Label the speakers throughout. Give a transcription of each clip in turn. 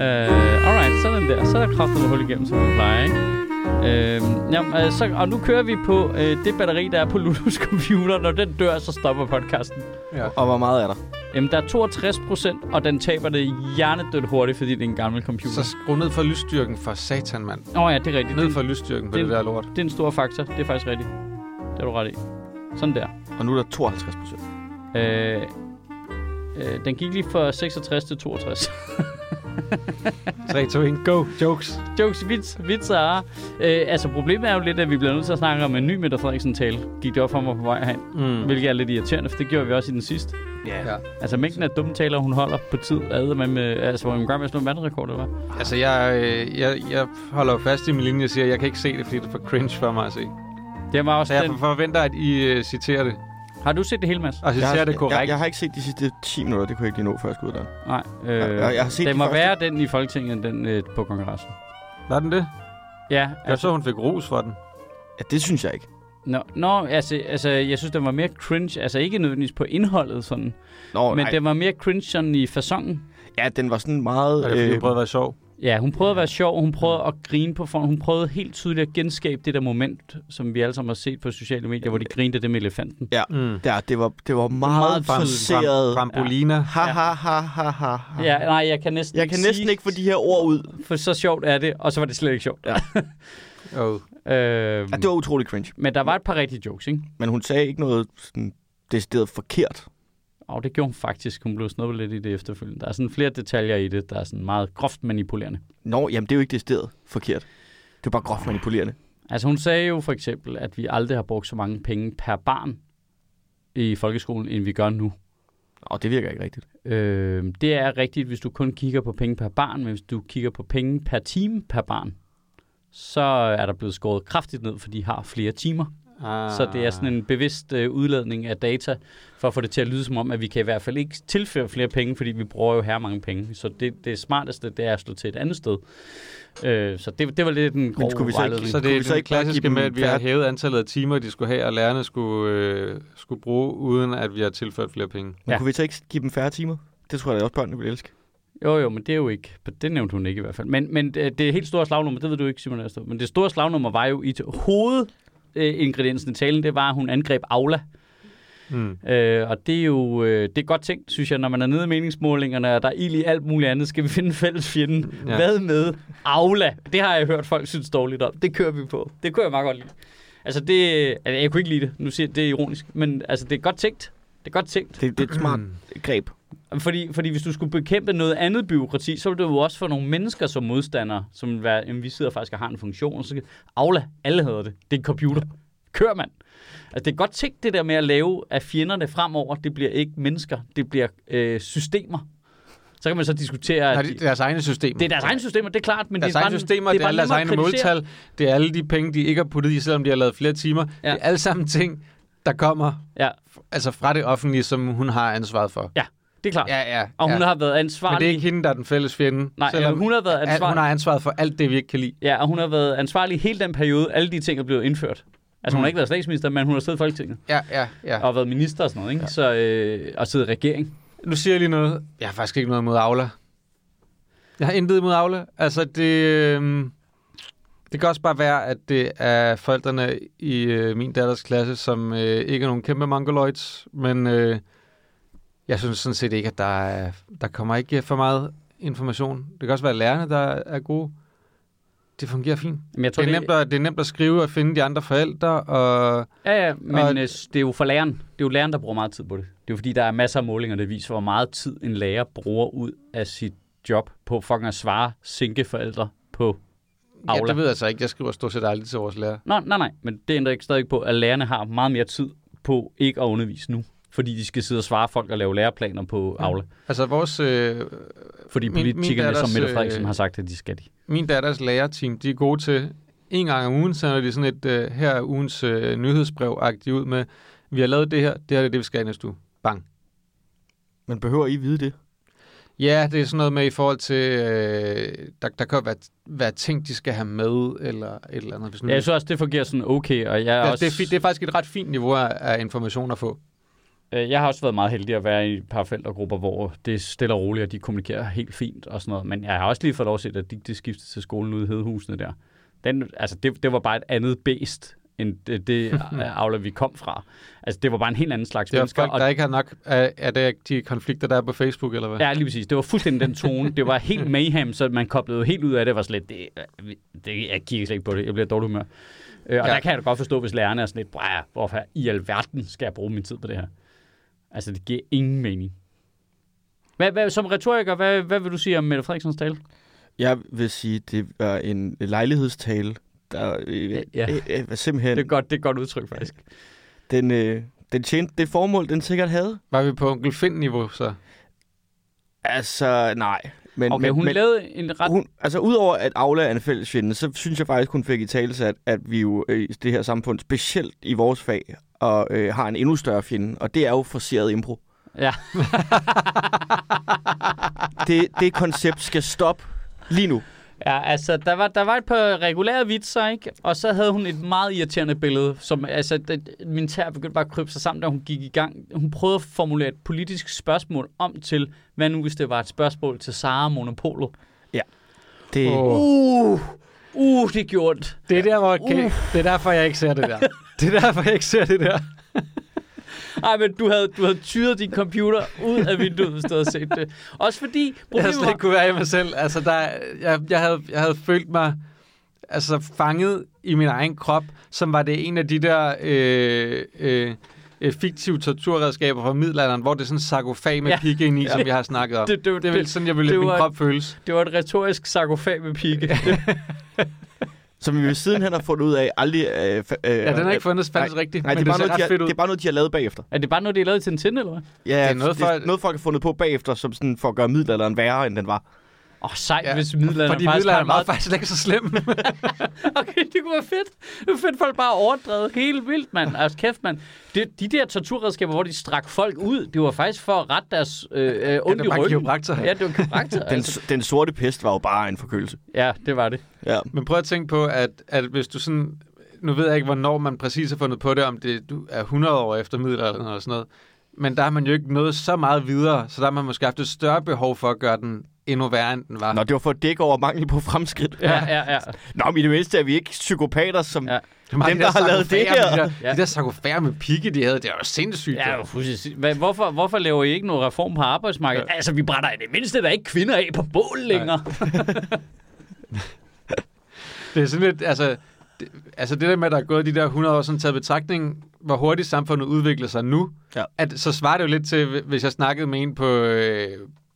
Speaker 1: Øh, der kraftet hul igennem, som vi plejer, ikke? Øhm, jamen, øh, så, og nu kører vi på øh, det batteri, der er på Ludus computer. Når den dør, så stopper podcasten.
Speaker 2: Ja.
Speaker 3: Og hvor meget er der?
Speaker 1: Jamen, der er 62 procent, og den taber det hjernedødt hurtigt, fordi det er en gammel computer.
Speaker 2: Så skru ned for lysstyrken for satan, mand.
Speaker 1: Nå oh, ja, det er rigtigt.
Speaker 2: Ned
Speaker 1: Det-
Speaker 2: for lysstyrken på
Speaker 1: det-
Speaker 2: det, der lort.
Speaker 1: Det er en stor faktor. Det er faktisk rigtigt. Det har du ret i. Sådan der.
Speaker 3: Og nu er der 52 procent.
Speaker 1: Øh, øh, den gik lige fra 66 til 62.
Speaker 2: 3, 2, 1, go. Jokes.
Speaker 1: Jokes, vits, vits og ar. øh, Altså, problemet er jo lidt, at vi bliver nødt til at snakke om en ny Mette Frederiksen-tale. Gik det op for mig på vej hen,
Speaker 3: Mm.
Speaker 1: hvilket er lidt irriterende, for det gjorde vi også i den sidste.
Speaker 3: Yeah.
Speaker 2: Ja.
Speaker 1: Altså, mængden af dumme taler, hun holder på tid, er med, med, altså, hvor hun gang med at slå en vandrekord, eller hvad?
Speaker 2: Altså, jeg, øh, jeg, jeg holder jo fast i min linje og siger, at jeg kan ikke se det, fordi det er for cringe for mig at se.
Speaker 1: Det var
Speaker 2: Så
Speaker 1: også
Speaker 2: jeg
Speaker 1: den.
Speaker 2: forventer, at I øh, citerer det.
Speaker 1: Har du set det hele, Mads?
Speaker 2: Og
Speaker 3: Jeg, har,
Speaker 2: citerer det korrekt.
Speaker 3: jeg, jeg, har ikke set de sidste 10 minutter. Det kunne jeg ikke lige nå, før jeg skulle ud der.
Speaker 1: Nej. Øh,
Speaker 3: Jeg, jeg, jeg har set
Speaker 1: det
Speaker 3: de
Speaker 1: må
Speaker 3: første-
Speaker 1: være den i Folketinget, end den øh, på kongressen.
Speaker 2: Var den det?
Speaker 1: Ja,
Speaker 2: Jeg så, hun fik ros for den.
Speaker 3: Ja, det synes jeg ikke.
Speaker 1: Nå, nå altså, altså, jeg synes, den var mere cringe. Altså, ikke nødvendigvis på indholdet, sådan.
Speaker 3: Nå,
Speaker 1: men
Speaker 3: men det...
Speaker 1: den var mere cringe sådan i fasongen.
Speaker 3: Ja, den var sådan meget... øh,
Speaker 2: Er det, fordi hun prøvede at være sjov?
Speaker 1: Ja, hun prøvede at være sjov, hun prøvede at grine på forhånd. Hun prøvede helt tydeligt at genskabe det der moment, som vi alle sammen har set på sociale medier, hvor de grinte af det med elefanten.
Speaker 2: Mm.
Speaker 3: der, det var, det var meget, meget forceret.
Speaker 2: Rambolina.
Speaker 3: Ha, ha, ha, ha, ha, ha.
Speaker 1: Ja, nej, jeg kan næsten,
Speaker 3: Ah. Jeg kan næsten
Speaker 1: sige,
Speaker 3: ikke få de her ord ud.
Speaker 1: For så sjovt er det, og så var det slet ikke sjovt.
Speaker 2: Ja. Oh.
Speaker 1: Øh,
Speaker 3: Ja, det var utrolig cringe.
Speaker 1: Men der var et par rigtige jokes, ikke?
Speaker 3: Men hun sagde ikke noget sådan decideret forkert.
Speaker 1: Og det gjorde hun faktisk. Hun blev snuppet lidt i det efterfølgende. Der er sådan flere detaljer i det, der er sådan meget groft manipulerende.
Speaker 3: Nå, jamen det er jo ikke decideret forkert. Det er bare groft manipulerende.
Speaker 1: Altså hun sagde jo for eksempel, at vi aldrig har brugt så mange penge per barn i folkeskolen, end vi gør nu.
Speaker 3: Nå, det virker ikke rigtigt.
Speaker 1: Øh, det er rigtigt, hvis du kun kigger på penge per barn, men hvis du kigger på penge per time per barn, så er der blevet skåret kraftigt ned, for de har flere timer.
Speaker 2: Ah.
Speaker 1: Så det er sådan en bevidst øh, udladning af data, for at få det til at lyde som om, at vi kan i hvert fald ikke tilføre flere penge, fordi vi bruger jo her mange penge. Så det, det smarteste, det er at slå til et andet sted. Øh, så det, det var lidt en grov
Speaker 3: skulle vi så ikke-
Speaker 1: vejledning.
Speaker 2: Ah. Så
Speaker 3: Kunne
Speaker 2: det
Speaker 3: vi
Speaker 2: er
Speaker 3: så
Speaker 2: så
Speaker 3: ikke
Speaker 2: ikke
Speaker 3: bare give
Speaker 2: klassiske
Speaker 3: dem
Speaker 2: med, at vi har
Speaker 3: færre-
Speaker 2: hævet antallet af timer, de skulle have, og lærerne skulle, øh, skulle bruge, uden at vi har tilført flere penge.
Speaker 3: Men
Speaker 1: Ja.
Speaker 3: ja. kunne vi så ikke give dem færre timer? Det tror jeg da også, børnene ville elske.
Speaker 1: Jo, jo, men det er jo ikke. Det nævnte hun ikke i hvert fald. Men, men øh, det det helt store slagnummer, det ved du ikke, Simon Astrup. Men det store slagnummer var jo i t- hovedingrediensen i talen, det var, at hun angreb Aula.
Speaker 2: Mm.
Speaker 1: Øh, og det er jo øh, det er godt tænkt, synes jeg, når man er nede i meningsmålingerne, og der er ild i alt muligt andet, skal vi finde en fælles fjende. Ja.
Speaker 2: Ja.
Speaker 1: Hvad med Aula? Det har jeg hørt folk synes dårligt om. Det kører vi på. Det kører jeg meget godt lide. Altså det, altså, jeg kunne ikke lide det, nu siger jeg, det er ironisk, men altså det er godt tænkt. Det er godt tænkt.
Speaker 3: Det, det er et smart
Speaker 2: Mm.
Speaker 3: greb.
Speaker 1: Fordi, fordi hvis du skulle bekæmpe noget andet byråkrati, så ville du jo også få nogle mennesker som modstandere, som vil være, jamen, vi sidder faktisk og har en funktion, og så kan- Aula, alle hedder det. Det er en computer. Kør, mand. Altså, det er godt tænkt, det der med at lave, at fjenderne fremover, det bliver ikke mennesker, det bliver øh, systemer. Så kan man så diskutere,
Speaker 2: Nej,
Speaker 1: at de,
Speaker 2: det er deres egne systemer.
Speaker 1: det er deres egne systemer, det er klart, men
Speaker 2: deres
Speaker 1: det er bare,
Speaker 2: egne systemer, det er,
Speaker 1: bare
Speaker 2: alle deres
Speaker 1: nemmere at
Speaker 2: egne
Speaker 1: kritisere.
Speaker 2: måltal, det er alle de penge, de ikke har puttet i, selvom de har lavet flere timer.
Speaker 1: Ja.
Speaker 2: Ja. Det er alle sammen ting, der kommer
Speaker 1: Ja,
Speaker 2: altså fra det offentlige, som hun har ansvaret for.
Speaker 1: det er klart. Ja,
Speaker 2: Ja, ja.
Speaker 1: og hun
Speaker 2: ja.
Speaker 1: har været
Speaker 2: Men det er
Speaker 1: ansvarlig.
Speaker 2: ikke hende, der er den fælles fjende.
Speaker 1: Nej,
Speaker 2: selvom
Speaker 1: hun har været
Speaker 2: at
Speaker 1: ansvarlig.
Speaker 2: hun har ansvaret for alt det, vi ikke kan lide.
Speaker 1: Ja, og hun har været ansvarlig hele den periode, alle de ting er blevet indført. Altså, hun har ikke været statsminister, men hun har siddet i Folketinget.
Speaker 2: Ja, ja, Mm. ja.
Speaker 1: og været minister og sådan noget, ikke? Ja. Så, øh, og siddet i regering.
Speaker 2: Nu siger jeg lige noget. Jeg har faktisk ikke noget mod Aula. Jeg har intet imod Aula. Altså, det... øhm, Det kan også bare være, at det er forældrene i øh, min datters klasse, som øh, ikke er nogen kæmpe mongoloids, men øh, jeg synes sådan set ikke, at der, er, der kommer ikke for meget information. Det kan også være lærerne, der er gode. Det fungerer fint.
Speaker 1: Men jeg tror,
Speaker 2: Det er, nemt at, det er nemt at skrive og finde de andre forældre, og
Speaker 1: Ja, ja, men
Speaker 2: og-
Speaker 1: øh, det er jo for læreren. Det er jo læreren, der bruger meget tid på det. Det er jo fordi, der er masser af målinger, der viser, hvor meget tid en lærer bruger ud af sit job på fucking at svare sinke forældre på Aula.
Speaker 2: Ja, det ved jeg så ikke. Jeg skriver stort set aldrig til vores lærer.
Speaker 1: Nå, nej, nej, men det ændrer ikke stadig på, at lærerne har meget mere tid på ikke at undervise nu. Fordi de skal sidde og svare folk og lave læreplaner på Aula.
Speaker 2: Altså, vores, øh,
Speaker 1: Fordi
Speaker 2: Min- min
Speaker 1: politikerne, som
Speaker 2: datters,
Speaker 1: Mette Frederiksen
Speaker 2: øh,
Speaker 1: har sagt, at de skal de.
Speaker 2: min datters lærerteam, de er gode til en gang om ugen, sender de sådan et øh, her er ugens øh, nyhedsbrev-agtigt ud med, vi har lavet det her, det her er det, vi skal i næste uge. Bang.
Speaker 3: Men behøver I vide det?
Speaker 2: Ja, det er sådan noget med i forhold til, øh, der, der kan jo være, være ting, de skal have med, eller et eller andet. Hvis nu- Altså,
Speaker 1: Ja, jeg synes også, det fungerer sådan okay, og jeg er
Speaker 2: det,
Speaker 1: også...
Speaker 2: det, er, fi- det er faktisk et ret fint niveau af, af information at få.
Speaker 1: Øh, Jeg har også været meget heldig at være i et par forældregrupper, hvor det er stille og roligt, og de kommunikerer helt fint og sådan noget. Men jeg har også lige fået lov at se, at de, de skiftede til skolen ude i Hedehusene der. Den, altså, det, det var bare et andet bæst, end det, det Aula, vi kom fra. Altså, det var bare en helt anden slags
Speaker 2: Det er
Speaker 1: mennesker.
Speaker 2: folk,
Speaker 1: og-
Speaker 2: der ikke har nok af, af det, de konflikter, der er på Facebook, eller hvad?
Speaker 1: Ja, lige præcis. Det var fuldstændig den tone. Det var helt mayhem, så man koblede helt ud af det. Det var slet, det, det, jeg kigger slet ikke på det. Jeg bliver i dårlig humør. Øh, og
Speaker 2: Ja.
Speaker 1: ja. der kan jeg da godt forstå, hvis lærerne er sådan lidt, "Brah, hvorfor i alverden skal jeg bruge min tid på det her? Altså, det giver ingen mening. Hvad, hvad, som retoriker, hvad, hvad vil du sige om Mette Frederiksens tale?
Speaker 3: Jeg vil sige, det var en lejlighedstale, der øh,
Speaker 1: Ja.
Speaker 3: ja. øh, øh, var simpelthen...
Speaker 1: Det er godt, det er et godt udtryk, faktisk.
Speaker 3: Den, øh, den tjente det formål, den sikkert havde.
Speaker 2: Var vi på onkel Finn-niveau, så?
Speaker 3: Altså, nej. Men,
Speaker 1: Okay,
Speaker 3: men,
Speaker 1: hun
Speaker 3: men,
Speaker 1: lavede en ret...
Speaker 3: hun, altså udover at Aula er en fælles fjende, så synes jeg faktisk, hun fik i tale at, at vi jo øh, i det her samfund, specielt i vores fag, og øh, har en endnu større fjende, og det er jo forceret impro.
Speaker 1: Ja.
Speaker 3: Det, det koncept skal stoppe lige nu.
Speaker 1: Ja, altså, der var, der var et par regulære vitser, ikke? Og så havde hun et meget irriterende billede, som, altså, det, min tær begyndte bare at krybe sig sammen, da hun gik i gang. Hun prøvede at formulere et politisk spørgsmål om til, hvad nu hvis det var et spørgsmål til Sara Monopolo.
Speaker 3: Det,
Speaker 2: Åh.
Speaker 3: oh.
Speaker 1: Uh, uh, det gjorde ondt.
Speaker 2: Det er, der, hvor, okay, det er derfor, jeg ikke ser det der. Det er derfor, jeg ikke ser det der.
Speaker 1: Ej, men du havde, du havde tyret din computer ud af vinduet, hvis du havde set det. Også fordi...
Speaker 2: Jeg
Speaker 1: problemet
Speaker 2: havde slet ikke Altså, kunne være i mig selv. Altså, der, jeg, jeg, havde, jeg havde følt mig altså, fanget i min egen krop, som var det en af de der øh, øh, øh, fiktive torturredskaber fra middelalderen, hvor det er sådan en sarkofag med
Speaker 1: Ja.
Speaker 2: ja. pigge ind i, som vi har snakket om.
Speaker 1: Det-
Speaker 2: Det,
Speaker 1: det-
Speaker 2: det, er vel
Speaker 1: det-
Speaker 2: sådan, jeg ville
Speaker 1: det
Speaker 2: lade min
Speaker 1: var-
Speaker 2: krop føles.
Speaker 1: Det var et retorisk sarkofag med pigge.
Speaker 3: Som vi ved sidenhen har fundet ud af aldrig... Øh, fa- øh,
Speaker 2: Ja, den har ikke fundet
Speaker 3: nej.
Speaker 2: fandens rigtigt,
Speaker 3: Nej,
Speaker 2: men
Speaker 3: det
Speaker 2: det
Speaker 3: er, bare
Speaker 2: ser
Speaker 3: noget, de
Speaker 2: ret
Speaker 3: har,
Speaker 2: fedt ud.
Speaker 3: det er bare noget, de har lavet bagefter.
Speaker 1: er det bare noget, de har lavet til en tind, eller hvad?
Speaker 3: Ja, det er
Speaker 2: noget
Speaker 3: noget, det er
Speaker 2: for-
Speaker 3: noget folk har fundet på bagefter, som sådan for at gøre middelalderen værre, end den var.
Speaker 1: Åh, oh, sejt, ja.
Speaker 2: Ja,
Speaker 1: hvis middelalderen
Speaker 2: Fordi
Speaker 1: faktisk har
Speaker 2: middelalderen
Speaker 1: en meget
Speaker 2: var faktisk slet ikke så slem.
Speaker 1: Okay, det kunne være fedt. Det var fedt, folk bare overdrevet helt vildt, mand. Altså kæft, mand. De, de der torturredskaber, hvor de strak folk ud, det var faktisk for at rette deres øh, øh, ondt
Speaker 2: det
Speaker 1: i
Speaker 2: var
Speaker 1: ryggen.
Speaker 2: kiropraktor.
Speaker 1: Ja, det var kiropraktor.
Speaker 3: Den,
Speaker 1: altså.
Speaker 3: den sorte pest var jo bare en forkølelse.
Speaker 1: Ja, det var det.
Speaker 3: Ja.
Speaker 2: Men prøv at tænke på, at, at hvis du sådan... Nu ved jeg ikke, hvornår man præcis har fundet på det, om det du er 100 år efter middelalderen eller sådan noget. Men der har man jo ikke nået så meget videre, så der har man måske haft et større behov for at gøre den endnu værre, end den var.
Speaker 3: Nå, det var for at dække over mangel på fremskridt.
Speaker 1: Ja, ja, ja.
Speaker 3: Nå, men i det mindste er vi ikke psykopater, som...
Speaker 1: Ja.
Speaker 3: Ja.
Speaker 2: Det var bare
Speaker 3: dem,
Speaker 2: de
Speaker 3: der har lavet det
Speaker 2: sarkofager med
Speaker 3: her.
Speaker 2: De der,
Speaker 1: Ja.
Speaker 2: de der sarkofager med pigge, de havde, det var jo sindssygt.
Speaker 1: ja
Speaker 2: Ja,
Speaker 1: det var fuldstændig sindssygt. Hvad- hvorfor, hvorfor laver I ikke noget reform på arbejdsmarkedet? Ja. Altså, vi brænder i det mindste, der er ikke kvinder af på bål længere.
Speaker 2: det er sådan lidt, altså... Det, altså det der med, at der er gået de der 100 år, sådan taget i betragtning, hvor hurtigt samfundet udvikler sig nu,
Speaker 3: Ja.
Speaker 2: at, så svarer det jo lidt til, hvis jeg snakkede med en på, øh,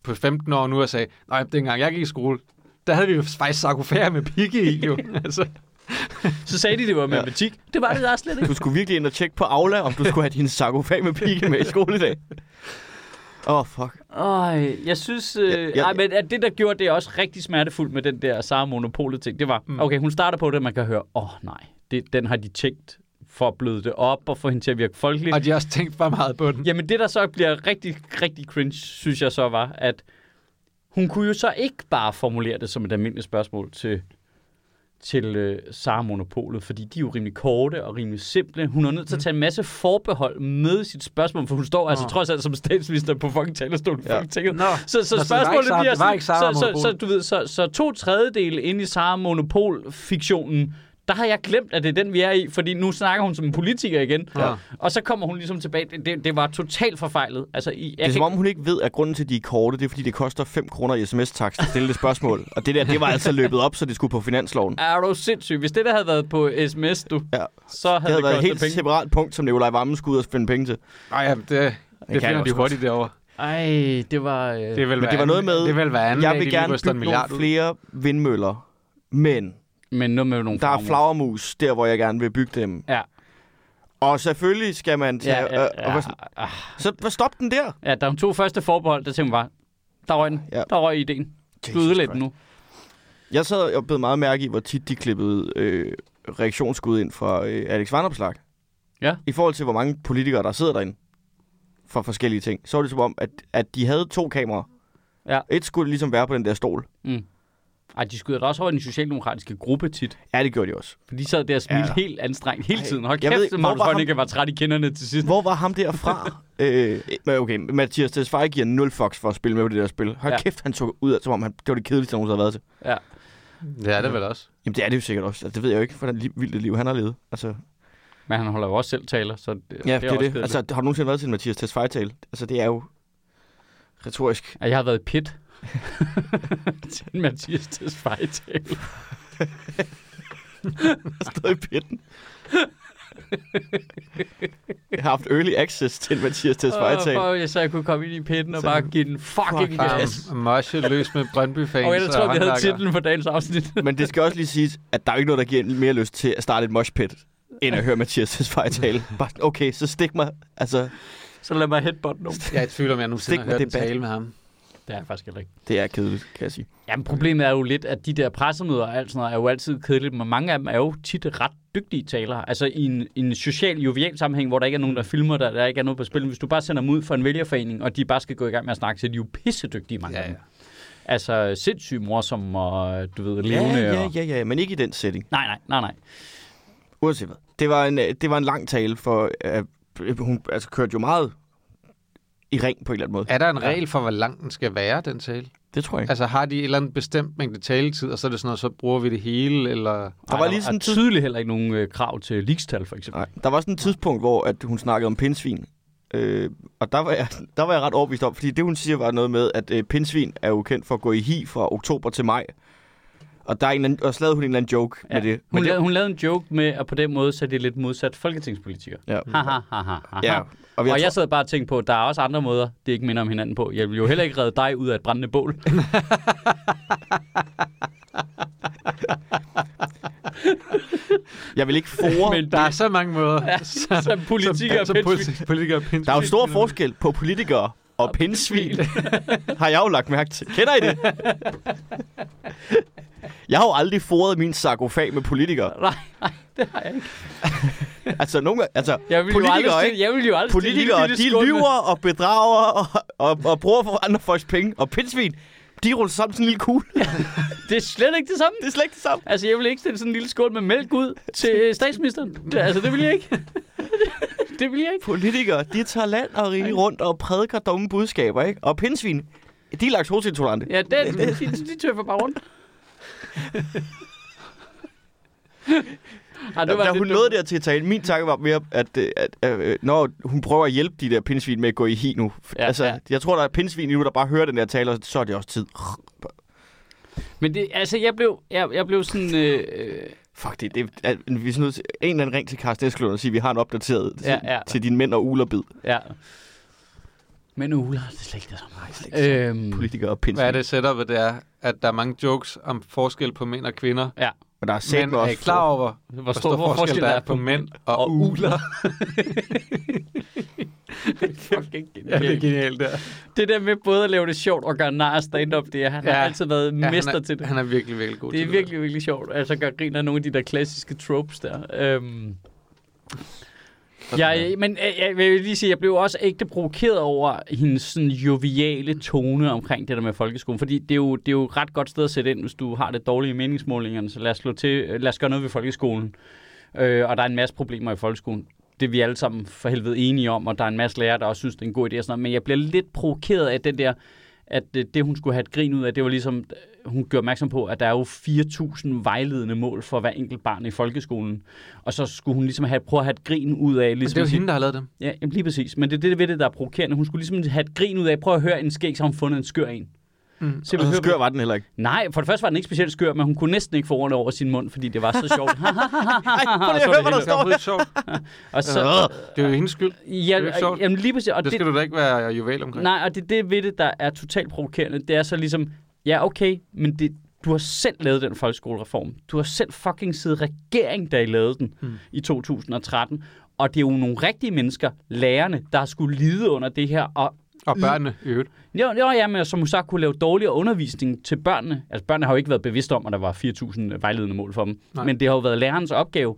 Speaker 2: på 15 år nu og sagde, nej, dengang jeg gik i skole, der havde vi jo faktisk sarkofager med pigge i, jo. altså,
Speaker 1: Så sagde de, det var matematik. Det var det der slet ikke.
Speaker 3: Du skulle virkelig ind og tjekke på Aula, om du skulle have din sarkofag med pigge med i skole i dag. Åh, oh, fuck.
Speaker 1: Øj, jeg synes... Øh, ja,
Speaker 3: Ja,
Speaker 1: ja,
Speaker 3: ja.
Speaker 1: ej, men at det, der gjorde det også rigtig smertefuldt med den der Sara Monopolet ting, det var, okay, hun starter på det, man kan høre, åh oh, nej, det, den har de tænkt for at bløde det op og få hende til at virke folkelig.
Speaker 2: og de har også tænkt for meget på den.
Speaker 1: Jamen det, der så bliver rigtig, rigtig cringe, synes jeg så var, at hun kunne jo så ikke bare formulere det som et almindeligt spørgsmål til, til øh, Sara Monopolet, fordi de er jo rimelig korte og rimelig simple. Hun er nødt til at tage en masse forbehold med i sit spørgsmål, for hun står altså trods alt som statsminister på fucking talerstolen.
Speaker 3: Ja.
Speaker 1: Ja. Fucking
Speaker 2: Nå.
Speaker 1: så, så
Speaker 2: Nå, så det var
Speaker 1: spørgsmålet
Speaker 2: ikke Sara-
Speaker 1: bliver
Speaker 2: det var
Speaker 1: sådan,
Speaker 2: ikke Sara
Speaker 1: så, så, så,
Speaker 2: Monopol.
Speaker 1: du ved, så, så to tredjedele inde i Sara Monopol-fiktionen, der har jeg glemt, at det er den, vi er i, fordi nu snakker hun som en politiker igen.
Speaker 2: Ja.
Speaker 1: Og så kommer hun ligesom tilbage. Det, det, det var totalt forfejlet. Altså, i,
Speaker 3: Det
Speaker 1: jeg
Speaker 3: er som
Speaker 1: kan,
Speaker 3: om, hun ikke ved, at grunden til, at de er korte, det er, fordi det koster 5 kroner i sms-takst at stille det spørgsmål. Og det der, det var altså løbet op, så det skulle på finansloven.
Speaker 1: er du sindssyg? Hvis det der havde været på sms, du,
Speaker 3: Ja.
Speaker 1: så havde
Speaker 3: Det
Speaker 1: det,
Speaker 3: havde været
Speaker 1: kostet
Speaker 3: et helt
Speaker 1: penge.
Speaker 3: separat punkt, som Nikolaj Vammen skulle ud og finde penge til.
Speaker 2: Nej, jamen, det, det
Speaker 3: jeg
Speaker 2: finder
Speaker 3: også
Speaker 2: de hurtigt derovre.
Speaker 1: Ej, det var... Øh...
Speaker 2: Det vil
Speaker 3: Men det var noget med,
Speaker 2: det vil være anlæg,
Speaker 3: jeg vil
Speaker 2: de
Speaker 3: gerne
Speaker 2: ryster en
Speaker 3: bygge nogle
Speaker 2: milliard ud.
Speaker 3: flere vindmøller, men
Speaker 1: Men nu med nogle
Speaker 3: der er
Speaker 1: farver.
Speaker 3: flagermus der, hvor jeg gerne vil bygge dem.
Speaker 1: Ja.
Speaker 3: Og selvfølgelig skal man
Speaker 1: Ja,
Speaker 3: tage...
Speaker 1: ja,
Speaker 3: øh, og
Speaker 1: ja,
Speaker 3: hvad sådan- Så hvad stop den der?
Speaker 1: ja, der var to første forbehold, der tænkte man bare, der røg den.
Speaker 3: Ja.
Speaker 1: Der røg ideen. Du ødelægger den nu.
Speaker 3: Jeg sad og blev meget mærke i, hvor tit de klippede øh, reaktionsskud ind fra øh, Alex Vandopslag.
Speaker 1: Ja.
Speaker 3: I forhold til, hvor mange politikere, der sidder derinde for forskellige ting. Så var det som om, at, at de havde to kameraer.
Speaker 1: Ja.
Speaker 3: Et skulle ligesom være på den der stol.
Speaker 1: Mm. Ej, de skyder da også over i den socialdemokratiske gruppe tit.
Speaker 3: Ja, det gjorde de også.
Speaker 1: For de sad der og smilte
Speaker 3: Ja.
Speaker 1: ja. helt anstrengt hele
Speaker 3: Ej,
Speaker 1: tiden. Hold
Speaker 3: jeg ved
Speaker 1: kæft,
Speaker 3: ikke,
Speaker 1: at
Speaker 3: hvor
Speaker 1: Magnus
Speaker 3: var ham-
Speaker 1: Heunicke var træt i kinderne til sidst.
Speaker 3: Hvor var ham der fra? øh, men okay, Mathias Tesfaye giver 0 fox for at spille med på det der spil. Hold ja.
Speaker 1: Ja.
Speaker 3: kæft, han tog ud, af- som om han, det var det kedeligste, han nogensinde havde været til.
Speaker 1: Ja.
Speaker 2: Det er det vel også.
Speaker 3: Jamen det er det jo sikkert også. Altså, det ved jeg jo ikke, hvordan li- vildt et liv han har levet. Altså, ja,
Speaker 1: Men han holder jo også selv taler, så det,
Speaker 3: det er det.
Speaker 1: også
Speaker 3: Er det.
Speaker 1: kedeligt.
Speaker 3: Altså, har du nogensinde været til en Mathias Tesfaye-tale? Altså, det er jo retorisk.
Speaker 1: At jeg har været i pit. til en Mathias Tesfaye-tale.
Speaker 3: Stået i pitten. jeg har haft early access til Mathias Tesfaye-tale.
Speaker 1: Åh, fuck, Så jeg kunne komme ind i pitten og
Speaker 3: Så-
Speaker 1: bare give den fucking
Speaker 3: Fuck,
Speaker 1: gas.
Speaker 3: yes.
Speaker 2: Yes. Moshe løs med Brøndby-fans
Speaker 1: Og ellers tror jeg, vi havde
Speaker 2: håndværkere.
Speaker 1: titlen for dagens afsnit.
Speaker 3: Men det skal også lige siges, at der er jo ikke noget, der giver en mere lyst til at starte et moshpit, end at høre Mathias Tesfaye tale. Bare, sådan, okay, så stik mig. Altså,
Speaker 1: så lad mig headbutt nu.
Speaker 2: Jeg er i tvivl om, jeg nogensinde
Speaker 3: Stik
Speaker 2: har
Speaker 3: med
Speaker 2: hørt en
Speaker 3: debat.
Speaker 2: tale med ham.
Speaker 1: Det er jeg faktisk heller ikke.
Speaker 3: det er kedeligt, kan jeg sige.
Speaker 1: Jamen problemet er jo lidt, at de der pressemøder og alt sådan noget er jo altid kedeligt, men mange af dem er jo tit ret dygtige talere. Altså i en, i en social, jovial sammenhæng, hvor der ikke er nogen, der filmer dig, der ikke er noget på spil. Hvis du bare sender dem ud for en vælgerforening, og de bare skal gå i gang med at snakke, så er de jo pissedygtige mange
Speaker 2: Ja,
Speaker 1: af
Speaker 2: ja.
Speaker 1: dem. Altså sindssygt morsom og du ved, levende.
Speaker 3: Ja, ja,
Speaker 1: Og...
Speaker 3: ja, ja, men ikke i den setting.
Speaker 1: Nej, nej, nej, nej.
Speaker 3: Uanset hvad. Det var en, øh, det var en lang tale, for øh, hun altså, kørte jo meget i ring på en eller anden måde.
Speaker 2: Er der en regel for, hvor lang den skal være, den tale?
Speaker 3: Det tror jeg ikke.
Speaker 2: Altså har de et eller andet bestemt mængde taletid, og så er det sådan noget, så bruger vi det hele, eller...
Speaker 3: Der var
Speaker 1: Ej,
Speaker 3: lige sådan
Speaker 1: er
Speaker 3: en tid-
Speaker 1: tydeligt heller ikke nogen øh, krav til ligestal, for eksempel.
Speaker 3: Nej. Der var sådan et tidspunkt, hvor at hun snakkede om pindsvin. Øh, og der var, jeg, der var jeg ret overbevist om, fordi det hun siger var noget med, at øh, pindsvin er jo kendt for at gå i hi fra oktober til maj. Og, der er en eller anden, og så lavede hun en eller anden joke ja. med det.
Speaker 1: Hun,
Speaker 3: Men det
Speaker 1: lavede, hun lavede en joke med, at på den måde så er det lidt modsat folketingspolitikere.
Speaker 3: Ja.
Speaker 1: Ha, ha, ha, ha, ha.
Speaker 3: ja.
Speaker 1: Og,
Speaker 3: jeg
Speaker 1: jeg, sad bare og tænkte på, at der er også andre måder, det ikke minder om hinanden på. Jeg vil jo heller ikke redde dig ud af et brændende bål.
Speaker 3: tror, jeg vil ikke fore.
Speaker 1: Men
Speaker 2: Der er så mange måder. Ja,
Speaker 1: så politikere
Speaker 2: så,
Speaker 1: og
Speaker 2: politi- politikere og
Speaker 3: Der er jo
Speaker 2: pindsvin.
Speaker 3: stor forskel på politikere og pindsvin, har jeg jo lagt mærke til. Kender I det? Jeg har jo aldrig foret min sarkofag med politikere.
Speaker 1: Nej, nej, det har jeg ikke.
Speaker 3: Altså, nogle, gange- altså
Speaker 1: Jeg vil jo aldrig,
Speaker 3: politikere,
Speaker 1: stille- jeg vil jo aldrig stille
Speaker 3: Politikere,
Speaker 1: lille bitte
Speaker 3: de
Speaker 1: skål med-
Speaker 3: lyver og bedrager og, og, og bruger for andre folks penge. Og pindsvin, de ruller sammen sådan en lille kugle.
Speaker 1: Det er slet ikke det samme.
Speaker 3: Det er slet ikke det samme.
Speaker 1: Altså, jeg vil ikke stille sådan en lille skål med mælk ud til øh, statsministeren. Det, altså, det vil jeg ikke. det vil jeg ikke.
Speaker 3: Politikere, de tager land og rige rundt og prædiker dumme budskaber, ikke? Og pindsvin, de er laktoseintolerante.
Speaker 1: Ja, den, de, de tøffer bare rundt. Ej,
Speaker 3: Ja, da
Speaker 1: lidt
Speaker 3: hun
Speaker 1: dumt.
Speaker 3: nåede der til at tale, min tanke var mere, at, øh, at, at når hun prøver at hjælpe de der pindsvin med at gå i hi nu. Ja,
Speaker 1: Ja,
Speaker 3: altså, ja.
Speaker 1: ja.
Speaker 3: jeg tror, der er pindsvin nu, der bare hører den der tale, og så er det også tid.
Speaker 1: Men det, altså, jeg blev, jeg, jeg blev sådan... Øh, øh,
Speaker 3: Fuck det, det er, vi er sådan nødt til, en eller anden ring til Carsten Eskelund og sige, at vi har en opdateret til, ja,
Speaker 1: Ja,
Speaker 3: ja. Mm.
Speaker 1: ja.
Speaker 3: til dine mænd og ulerbid.
Speaker 1: ja. Men uler, det er slet ikke det samme.
Speaker 3: Nej, slet ikke. Øh,
Speaker 1: Øhm,
Speaker 3: Politikere og pindsvin.
Speaker 2: Hvad er det setupet, det er, at der er mange jokes om forskel på mænd og kvinder,
Speaker 3: Men der er
Speaker 2: men
Speaker 3: sæt
Speaker 2: er I
Speaker 3: også
Speaker 2: klar over, hvor
Speaker 1: Hvor
Speaker 2: stor, forskel, der er på mænd og,
Speaker 1: og
Speaker 2: uler?
Speaker 1: uler? fucking
Speaker 2: Ja, det er
Speaker 1: genialt.
Speaker 2: genialt, der.
Speaker 1: Det der med både at lave det sjovt og gøre nar af stand-up, det er, han
Speaker 2: Ja.
Speaker 1: har altid været
Speaker 2: Ja,
Speaker 1: mester
Speaker 2: han er,
Speaker 1: til det.
Speaker 2: Han er virkelig, virkelig god
Speaker 1: Det er
Speaker 2: til
Speaker 1: virkelig, virkelig sjovt. Altså, gør grin af nogle af de der klassiske tropes der. Øhm, jeg, men øh, jeg, jeg vil lige sige, jeg blev også ægte provokeret over hendes sådan joviale tone omkring det der med folkeskolen. Fordi det er, jo, det er jo et ret godt sted at sætte ind, hvis du har det dårlige i meningsmålingerne. Så lad os, slå til, øh, lad os gøre noget ved folkeskolen. Øh, og der er en masse problemer i folkeskolen. Det er vi alle sammen for helvede enige om, og der er en masse lærere, der også synes, det er en god idé. Og sådan noget. Men jeg bliver lidt provokeret af den der, at øh, det, hun skulle have et grin ud af, det var ligesom, hun gjorde opmærksom på, at der er jo 4.000 vejledende mål for hver enkelt barn i folkeskolen. Og så skulle hun ligesom have, prøve at have et grin ud af.
Speaker 2: Men det
Speaker 1: Ligesom
Speaker 2: er
Speaker 1: at
Speaker 2: jo
Speaker 1: sige-
Speaker 2: hende, der har lavet dem.
Speaker 1: Ja, jamen lige præcis. Men det er det ved det, der er provokerende. Hun skulle ligesom have et grin ud af, prøv at høre en skæg, så har hun fundet en skør en.
Speaker 2: Mm.
Speaker 1: Se,
Speaker 3: Og så
Speaker 1: hør-
Speaker 3: Altså, skør var den heller ikke.
Speaker 1: Nej, for det første var den ikke specielt skør, men hun kunne næsten ikke få ordene over sin mund, fordi det var så sjovt.
Speaker 3: Ej, prøv lige
Speaker 1: så
Speaker 3: at
Speaker 1: er
Speaker 3: høre,
Speaker 1: det
Speaker 3: hvad der
Speaker 1: helt-
Speaker 2: Det er
Speaker 3: står.
Speaker 2: overhovedet sjovt.
Speaker 1: og så,
Speaker 2: Det Øh. er jo hendes skyld.
Speaker 1: ja,
Speaker 2: ikke sjovt.
Speaker 1: jamen lige præcis. Og
Speaker 2: Det
Speaker 1: det,
Speaker 2: skal du da ikke være juvel omkring.
Speaker 1: Nej, og det er det ved det, der er totalt provokerende. Det er så ligesom, ja okay, men det, du har selv lavet den folkeskolereform. Du har selv fucking siddet i regering, da I lavede den
Speaker 2: Hmm.
Speaker 1: hmm. i 2013. Og det er jo nogle rigtige mennesker, lærerne, der har skulle lide under det her. Og
Speaker 2: Og børnene i øvrigt.
Speaker 1: jo, jo ja, men som så kunne lave dårligere undervisning til børnene. Altså børnene har jo ikke været bevidste om, at der var 4.000 vejledende mål for dem.
Speaker 2: Nej.
Speaker 1: Nej. Men det har jo været lærernes opgave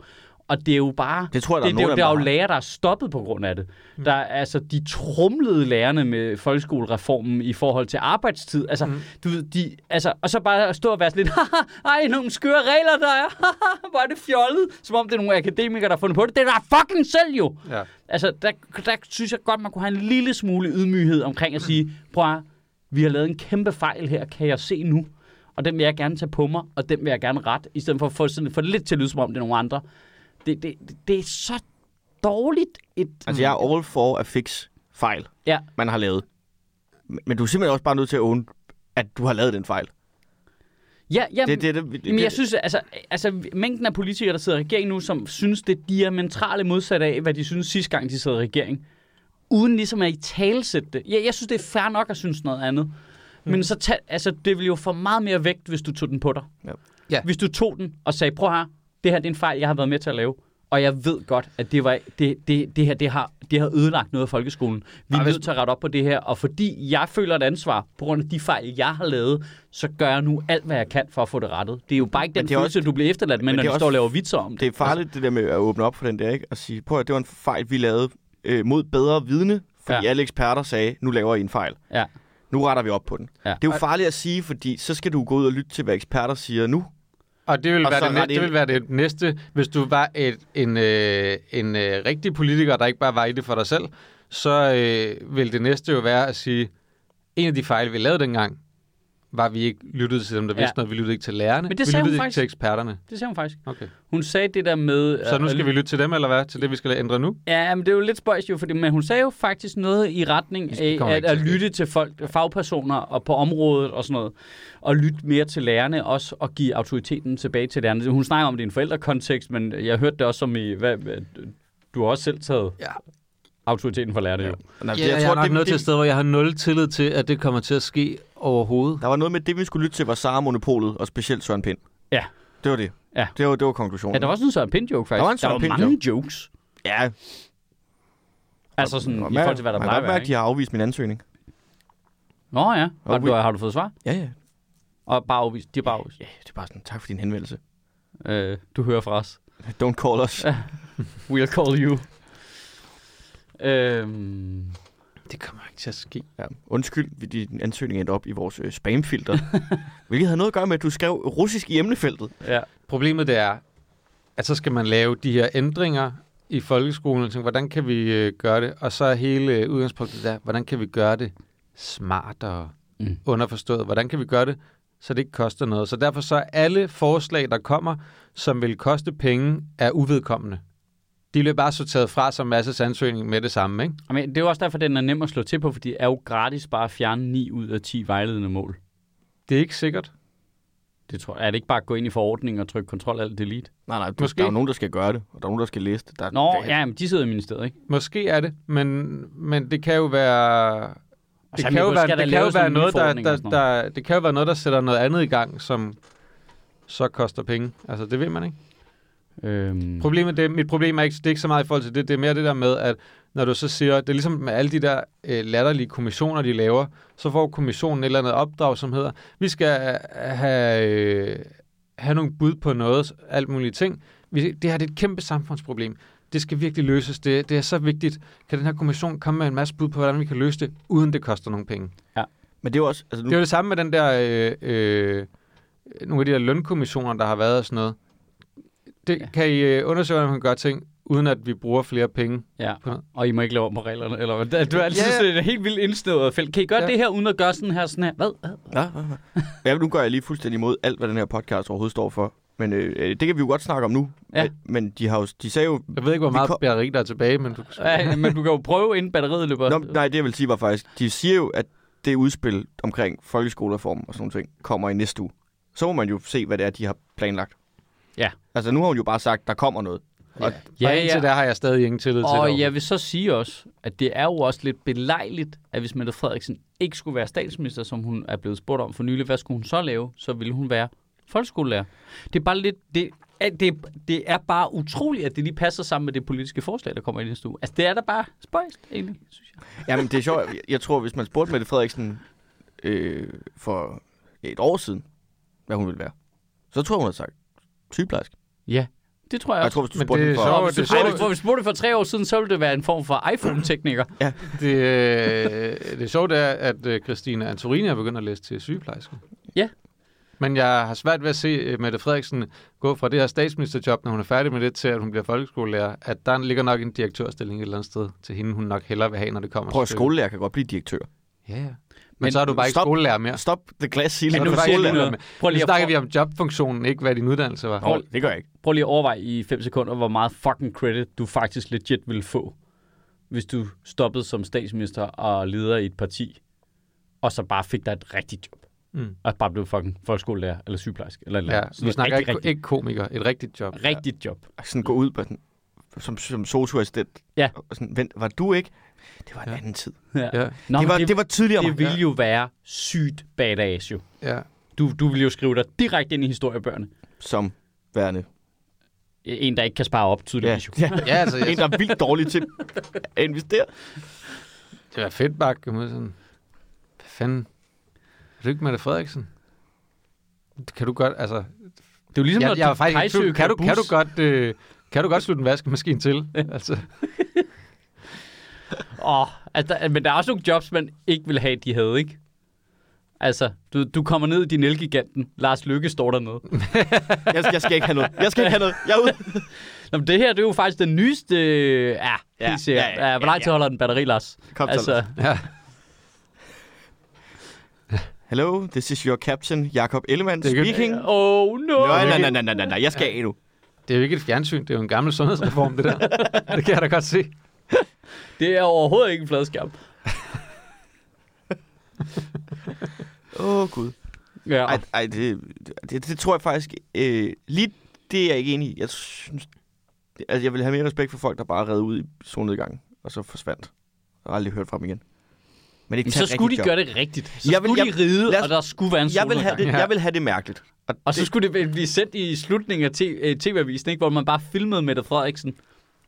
Speaker 1: Og det er jo bare...
Speaker 3: Det tror jeg, der
Speaker 1: det,
Speaker 3: er
Speaker 1: det,
Speaker 3: nogen
Speaker 1: det, der er jo
Speaker 3: af dem, der
Speaker 1: lærere, der er stoppet på grund af det. Mm. Der, er- altså, de trumlede lærerne med folkeskolereformen i forhold til arbejdstid. Altså, mm. du ved, de, altså, og så bare at stå og være sådan lidt, "Haha, ej, nogle skøre regler, der er. Haha, Hvor er det fjollet. Som om det er nogle akademikere, der har fundet på det. Det er der fucking selv jo.
Speaker 2: Ja.
Speaker 1: Altså, der, der synes jeg godt, man kunne have en lille smule ydmyghed omkring at sige, prøv at, høre, vi har lavet en kæmpe fejl her, kan jeg se nu? Og den vil jeg gerne tage på mig, og den vil jeg gerne rette, i stedet for at få, sådan, få det lidt til at lyde, som om det er nogle andre. Det, det, det, det er så dårligt et...
Speaker 3: Altså, jeg er all for at fix fejl,
Speaker 1: Ja.
Speaker 3: man har lavet. Men men du er simpelthen også bare nødt til at own, at du har lavet den fejl.
Speaker 1: Ja, jamen,
Speaker 3: Det, det, det, det,
Speaker 1: Jamen, jeg synes, altså, altså, mængden af politikere, der sidder i regeringen nu, som synes, det er diametrale modsat af, hvad de synes sidste gang, de sad i regering, uden ligesom at i talsætte det. Jeg, jeg synes, det er fair nok at synes noget andet. Men
Speaker 3: Mhm.
Speaker 1: så tag, altså, det ville jo få meget mere vægt, hvis du tog den på dig.
Speaker 3: Ja.
Speaker 2: Ja.
Speaker 1: Hvis du tog den og sagde, prøv her, det her det er en fejl, jeg har været med til at lave. Og jeg ved godt, at det, var, det, det, det her det har, det har ødelagt noget af folkeskolen. Vi er
Speaker 2: Ej, hvis-
Speaker 1: nødt til at rette op på det her, og fordi jeg føler et ansvar på grund af de fejl, jeg har lavet, så gør jeg nu alt, hvad jeg kan for at få det rettet. Det er jo bare ikke
Speaker 3: Men
Speaker 1: den
Speaker 3: det er
Speaker 1: følelse, du bliver efterladt med,
Speaker 3: men
Speaker 1: når
Speaker 3: det
Speaker 1: du
Speaker 3: er
Speaker 1: står
Speaker 3: også-
Speaker 1: og laver vitser om det.
Speaker 3: det er farligt, det der med at åbne op for den der, ikke? Og sige, prøv at høre, det var en fejl, vi lavede øh, mod bedre vidne, fordi
Speaker 1: Ja.
Speaker 3: ja. alle eksperter sagde, nu laver I en fejl.
Speaker 1: Ja.
Speaker 3: Nu retter vi op på den.
Speaker 1: Ja.
Speaker 3: Ja. Det er jo farligt at sige, fordi så skal du gå ud og lytte til, hvad eksperter siger nu.
Speaker 2: Og det vil,
Speaker 3: Og
Speaker 2: være
Speaker 3: så
Speaker 2: det, næ-
Speaker 3: ret
Speaker 2: det vil
Speaker 3: ind-
Speaker 2: være det næste, hvis du var et, en, øh, en øh, rigtig politiker, der ikke bare var i det for dig selv, så øh, vil det næste jo være at sige, en af de fejl, vi lavede dengang, var, at vi ikke lyttede til dem, der
Speaker 1: Ja.
Speaker 2: vidste noget. Vi lyttede ikke til lærerne.
Speaker 1: Men det
Speaker 2: vi
Speaker 1: sagde hun
Speaker 2: lyttede ikke
Speaker 1: faktisk.
Speaker 2: til eksperterne.
Speaker 1: Det ser hun faktisk.
Speaker 2: Okay.
Speaker 1: Hun sagde det der med...
Speaker 2: Så nu
Speaker 1: at-
Speaker 2: skal vi lytte til dem, eller hvad? Til det, vi skal ændre nu?
Speaker 1: Ja, men det er jo lidt spøjs jo, fordi, men hun sagde jo faktisk noget i retning af
Speaker 2: kommer
Speaker 1: at,
Speaker 2: ikke til
Speaker 1: at
Speaker 2: at ske.
Speaker 1: lytte til folk, fagpersoner og på området og sådan noget, og lytte mere til lærerne også, og give autoriteten tilbage til lærerne. Hun snakker om det i en forældrekontekst, men jeg hørte det også som i, hvad, du har også selv taget
Speaker 2: Ja.
Speaker 1: autoriteten fra lærerne jo.
Speaker 3: Nej,
Speaker 2: Ja, Altså, jeg, jeg tror, er nok nået til et sted, hvor jeg har nul tillid til, at det kommer til at ske overhovedet.
Speaker 3: Der var noget med, det vi skulle lytte til, var Sara-monopolet, og specielt Søren Pind.
Speaker 1: Ja.
Speaker 3: Det var det.
Speaker 1: Ja.
Speaker 3: Det var, det var konklusionen.
Speaker 1: Ja, der var også en Søren Pind-joke faktisk.
Speaker 3: Der var en Søren
Speaker 1: der
Speaker 3: Pind
Speaker 1: var mange jokes.
Speaker 3: ja
Speaker 1: Altså sådan, i
Speaker 3: og
Speaker 1: forhold til, hvad der
Speaker 3: man
Speaker 1: plejer at være,
Speaker 3: kan godt mærke, at de
Speaker 1: ikke?
Speaker 3: har afvist min ansøgning.
Speaker 1: Nå ja, har
Speaker 3: Og
Speaker 1: du,
Speaker 3: vi-
Speaker 1: har du fået svar?
Speaker 3: Ja, ja.
Speaker 1: Og bare afvist. De er bare afvist.
Speaker 3: Ja, det er bare sådan, tak for din henvendelse.
Speaker 1: Øh, du hører fra os.
Speaker 3: Don't call us.
Speaker 1: We'll call you. Øhm,
Speaker 2: Det kommer ikke til at ske.
Speaker 3: Ja. Undskyld, vi- din ansøgning endte op i vores øh, spamfilter. hvilket havde noget at gøre med, at du skrev russisk i emnefeltet.
Speaker 1: ja.
Speaker 2: Problemet det er, at så skal man lave de her ændringer i folkeskolen. Tænke, hvordan kan vi øh, gøre det? Og så er hele øh, udgangspunktet der, hvordan kan vi gøre det smartere,
Speaker 1: Mm.
Speaker 2: mm. underforstået? Hvordan kan vi gøre det, så det ikke koster noget? Så derfor så er alle forslag, der kommer, som vil koste penge, er uvedkommende. De bliver bare sorteret fra som massas ansøgning med det samme, ikke?
Speaker 1: Jamen, det er jo også derfor, den er nem at slå til på, fordi det er jo gratis bare at fjerne 9 ud af 10 vejledende mål.
Speaker 2: Det er ikke sikkert.
Speaker 1: Det tror jeg. Er det ikke bare at gå ind i forordningen og trykke kontrol alt delete?
Speaker 3: Nej, nej, du,
Speaker 2: Måske.
Speaker 3: der er jo nogen, der skal gøre det, og der er nogen, der skal læse det. Der,
Speaker 1: Nå,
Speaker 3: der,
Speaker 1: ja, men de sidder i ministeriet, ikke?
Speaker 2: Måske er det, men, men det kan jo være det kan jo være, det kan jo være noget, der, der, der, det kan jo være noget, der sætter noget andet i gang, som så koster penge. Altså, det ved man ikke.
Speaker 1: Øhm,
Speaker 2: Problemet, det, mit problem er ikke, det er ikke så meget i forhold til det. Det er mere det der med, at når du så siger, det er ligesom med alle de der øh, latterlige kommissioner, de laver, så får kommissionen et eller andet opdrag, som hedder, vi skal øh, have, øh, have nogle bud på noget, alt muligt ting. Vi, det her det er et kæmpe samfundsproblem. Det skal virkelig løses. Det, det er så vigtigt. Kan den her kommission komme med en masse bud på, hvordan vi kan løse det, uden det koster nogen penge?
Speaker 3: Men det er jo også... Altså, nu,
Speaker 2: Det er jo det samme med den der, øh, øh, nogle af de der lønkommissioner, der har været og sådan noget. Det
Speaker 1: Ja.
Speaker 2: ja. kan I øh, undersøge, hvordan man kan gøre ting, uden at vi bruger flere penge.
Speaker 1: Ja, og I må ikke lave om på reglerne. Eller, hvad? du er altid
Speaker 2: Ja,
Speaker 1: ja,
Speaker 2: ja.
Speaker 1: sådan et helt vildt indsnævret felt. Kan I gøre ja.
Speaker 2: Ja.
Speaker 1: det her, uden at gøre sådan her? Sådan her? Hvad? Hvad?
Speaker 3: Ja, ja, ja. ja, nu går jeg lige fuldstændig imod alt, hvad den her podcast overhovedet står for. Men øh, øh, det kan vi jo godt snakke om nu.
Speaker 1: Ja.
Speaker 3: Men, men de, har jo, de sagde jo...
Speaker 2: Jeg ved ikke, hvor
Speaker 3: Vi
Speaker 2: meget
Speaker 3: kom-
Speaker 2: batteri der er tilbage, men du kan
Speaker 1: Ja, men du kan jo prøve, inden batteriet løber.
Speaker 3: Nå, nej, det jeg vil sige var faktisk... De siger jo, at det udspil omkring folkeskolereformen og sådan nogle ting kommer i næste uge. Så må man jo se, hvad det er, de har planlagt.
Speaker 1: Ja.
Speaker 3: Altså, nu har hun jo bare sagt, der kommer noget. Og,
Speaker 2: ja, og indtil ja. der har jeg stadig ingen tillid til
Speaker 1: Og
Speaker 2: det.
Speaker 1: jeg vil så sige også, at det er jo også lidt belejligt, at hvis Mette Frederiksen ikke skulle være statsminister, som hun er blevet spurgt om for nylig, hvad skulle hun så lave? Så ville hun være folkeskolelærer. Det er bare lidt... Det, at det, det er bare utroligt, at det lige passer sammen med det politiske forslag, der kommer i næste uge. Altså, det er da bare spøjst, egentlig, synes jeg.
Speaker 3: Jamen, det er sjovt. Jeg, jeg tror, hvis man spurgte Mette Frederiksen øh, for et år siden, hvad hun ville være, så tror jeg, hun havde sagt sygeplejerske.
Speaker 1: Ja, Det tror jeg
Speaker 3: Jeg
Speaker 1: også.
Speaker 3: tror, hvis du
Speaker 2: Men
Speaker 3: spurgte
Speaker 2: det
Speaker 3: det,
Speaker 2: er
Speaker 3: for...
Speaker 2: så-
Speaker 1: Og hvis du
Speaker 2: det
Speaker 1: spurgte,
Speaker 2: sjovt.
Speaker 1: for, hvis du spurgte for tre år siden, så ville det være en form for iPhone-tekniker.
Speaker 2: Det, øh, det sjove er, at øh, Christina Antorini er begyndt at læse til sygeplejerske.
Speaker 1: Ja.
Speaker 2: Men jeg har svært ved at se øh, Mette Frederiksen gå fra det her statsministerjob, når hun er færdig med det, til at hun bliver folkeskolelærer. At der ligger nok en direktørstilling et eller andet sted til hende, hun nok hellere vil have, når det kommer.
Speaker 3: Prøv at
Speaker 2: til
Speaker 3: skolelærer kan godt blive direktør.
Speaker 2: stykket. Ja, ja. Men,
Speaker 1: Men
Speaker 2: Men så er du bare ikke
Speaker 3: stop.
Speaker 2: skolelærer mere.
Speaker 3: Stop the glass
Speaker 2: Ja,
Speaker 3: ceiling
Speaker 2: nu
Speaker 3: for
Speaker 2: var jeg lige
Speaker 3: skolelærer.
Speaker 2: noget med.
Speaker 1: Prøv
Speaker 2: Nu
Speaker 1: lige, at,
Speaker 2: snakker vi
Speaker 1: prøv,
Speaker 2: om jobfunktionen, ikke hvad din uddannelse var.
Speaker 3: Nå, det gør jeg ikke.
Speaker 1: prøv lige at overveje i 5 sekunder, hvor meget fucking credit du faktisk legit ville få, hvis du stoppede som statsminister og leder i et parti, og så bare fik dig et rigtigt job.
Speaker 2: Mm.
Speaker 1: Og bare blev fucking folkeskolelærer eller sygeplejerske. Eller, et eller
Speaker 2: Ja,
Speaker 1: andet. Sådan
Speaker 2: vi
Speaker 1: noget
Speaker 2: snakker
Speaker 1: rigtig,
Speaker 2: ikke, ikke komiker, et rigtigt job.
Speaker 1: rigtig, rigtigt job.
Speaker 3: Sådan gå ud på den, som, som socioassistent.
Speaker 1: Ja.
Speaker 3: Og sådan, vent, var du ikke? Det var en
Speaker 2: Ja.
Speaker 3: anden tid.
Speaker 1: Ja.
Speaker 2: Ja,
Speaker 1: Nå,
Speaker 3: det,
Speaker 1: men
Speaker 3: var, det, det var tidligere.
Speaker 1: det
Speaker 3: Det,
Speaker 1: ville jo være sygt badass jo.
Speaker 2: ja.
Speaker 1: Du, du ville jo skrive dig direkte ind i historiebøgerne.
Speaker 3: Som værende.
Speaker 1: En, der ikke kan spare op,
Speaker 3: Ja.
Speaker 1: tydeligvis jo.
Speaker 3: ja.
Speaker 2: ja altså, jeg,
Speaker 3: En, der er vildt dårlig til at investere.
Speaker 2: Det var fedt bare at komme ud sådan, hvad fanden, er du ikke Mette Frederiksen? Kan du godt, altså,
Speaker 1: Det er jo ligesom,
Speaker 2: jeg,
Speaker 1: når
Speaker 2: jeg er faktisk ikke i
Speaker 1: Kajsø
Speaker 2: tvivl.
Speaker 1: kører
Speaker 2: kan, du, kan, du
Speaker 1: bus.
Speaker 2: godt, øh, kan du godt slutte en vaskemaskine til? altså,
Speaker 1: Åh, altså, der- men der er også nogle jobs, man ikke ville have, de havde, ikke? Altså, du, du kommer ned i din elgiganten. Lars Lykke står dernede.
Speaker 3: Jeg, jeg skal ikke have noget. Jeg skal ikke have noget. Jeg er ude.
Speaker 1: Nå, men det her, det er jo faktisk den nyeste... øh, Ja,
Speaker 3: Ja,
Speaker 1: ja, ja, ja, ja, Hvor lang tid holder den batteri, Lars?
Speaker 3: Kom,
Speaker 1: Altså,
Speaker 3: altså.
Speaker 2: ja.
Speaker 3: Hello, this is your captain, Jakob Ellemann
Speaker 2: Det er ikke-
Speaker 3: speaking.
Speaker 1: oh no!
Speaker 3: Nej, nej, nej, nej, nej, nej, nej, jeg skal af nu.
Speaker 2: Det er jo ikke et fjernsyn, det er jo en gammel sundhedsreform, det der. det kan jeg da godt se.
Speaker 1: Det er overhovedet ikke en fladskærm.
Speaker 3: Åh, oh, Gud.
Speaker 1: Ja.
Speaker 3: Ej, ej det, det, det tror jeg faktisk... Øh, lige det er jeg ikke enig i. Jeg synes... det- Altså, jeg vil have mere respekt for folk, der bare redde ud i solnedgangen, og så forsvandt. Og aldrig hørt fra dem igen. Men ikke
Speaker 1: Men
Speaker 3: tage
Speaker 1: så
Speaker 3: et
Speaker 1: skulle de
Speaker 3: rigtigt
Speaker 1: gøre det rigtigt. Så
Speaker 3: Jeg
Speaker 1: jeg
Speaker 3: vil-
Speaker 1: skulle
Speaker 3: jeg-
Speaker 1: de ride,
Speaker 3: lad os-
Speaker 1: og der skulle være en
Speaker 3: job. Jeg vil, have det,
Speaker 1: solnedgang.
Speaker 2: Ja.
Speaker 3: jeg vil have det mærkeligt. Og,
Speaker 1: Og så skulle det vel blive sendt i slutningen af t- øh, TV-avisen, ikke? hvor man bare filmede Mette Frederiksen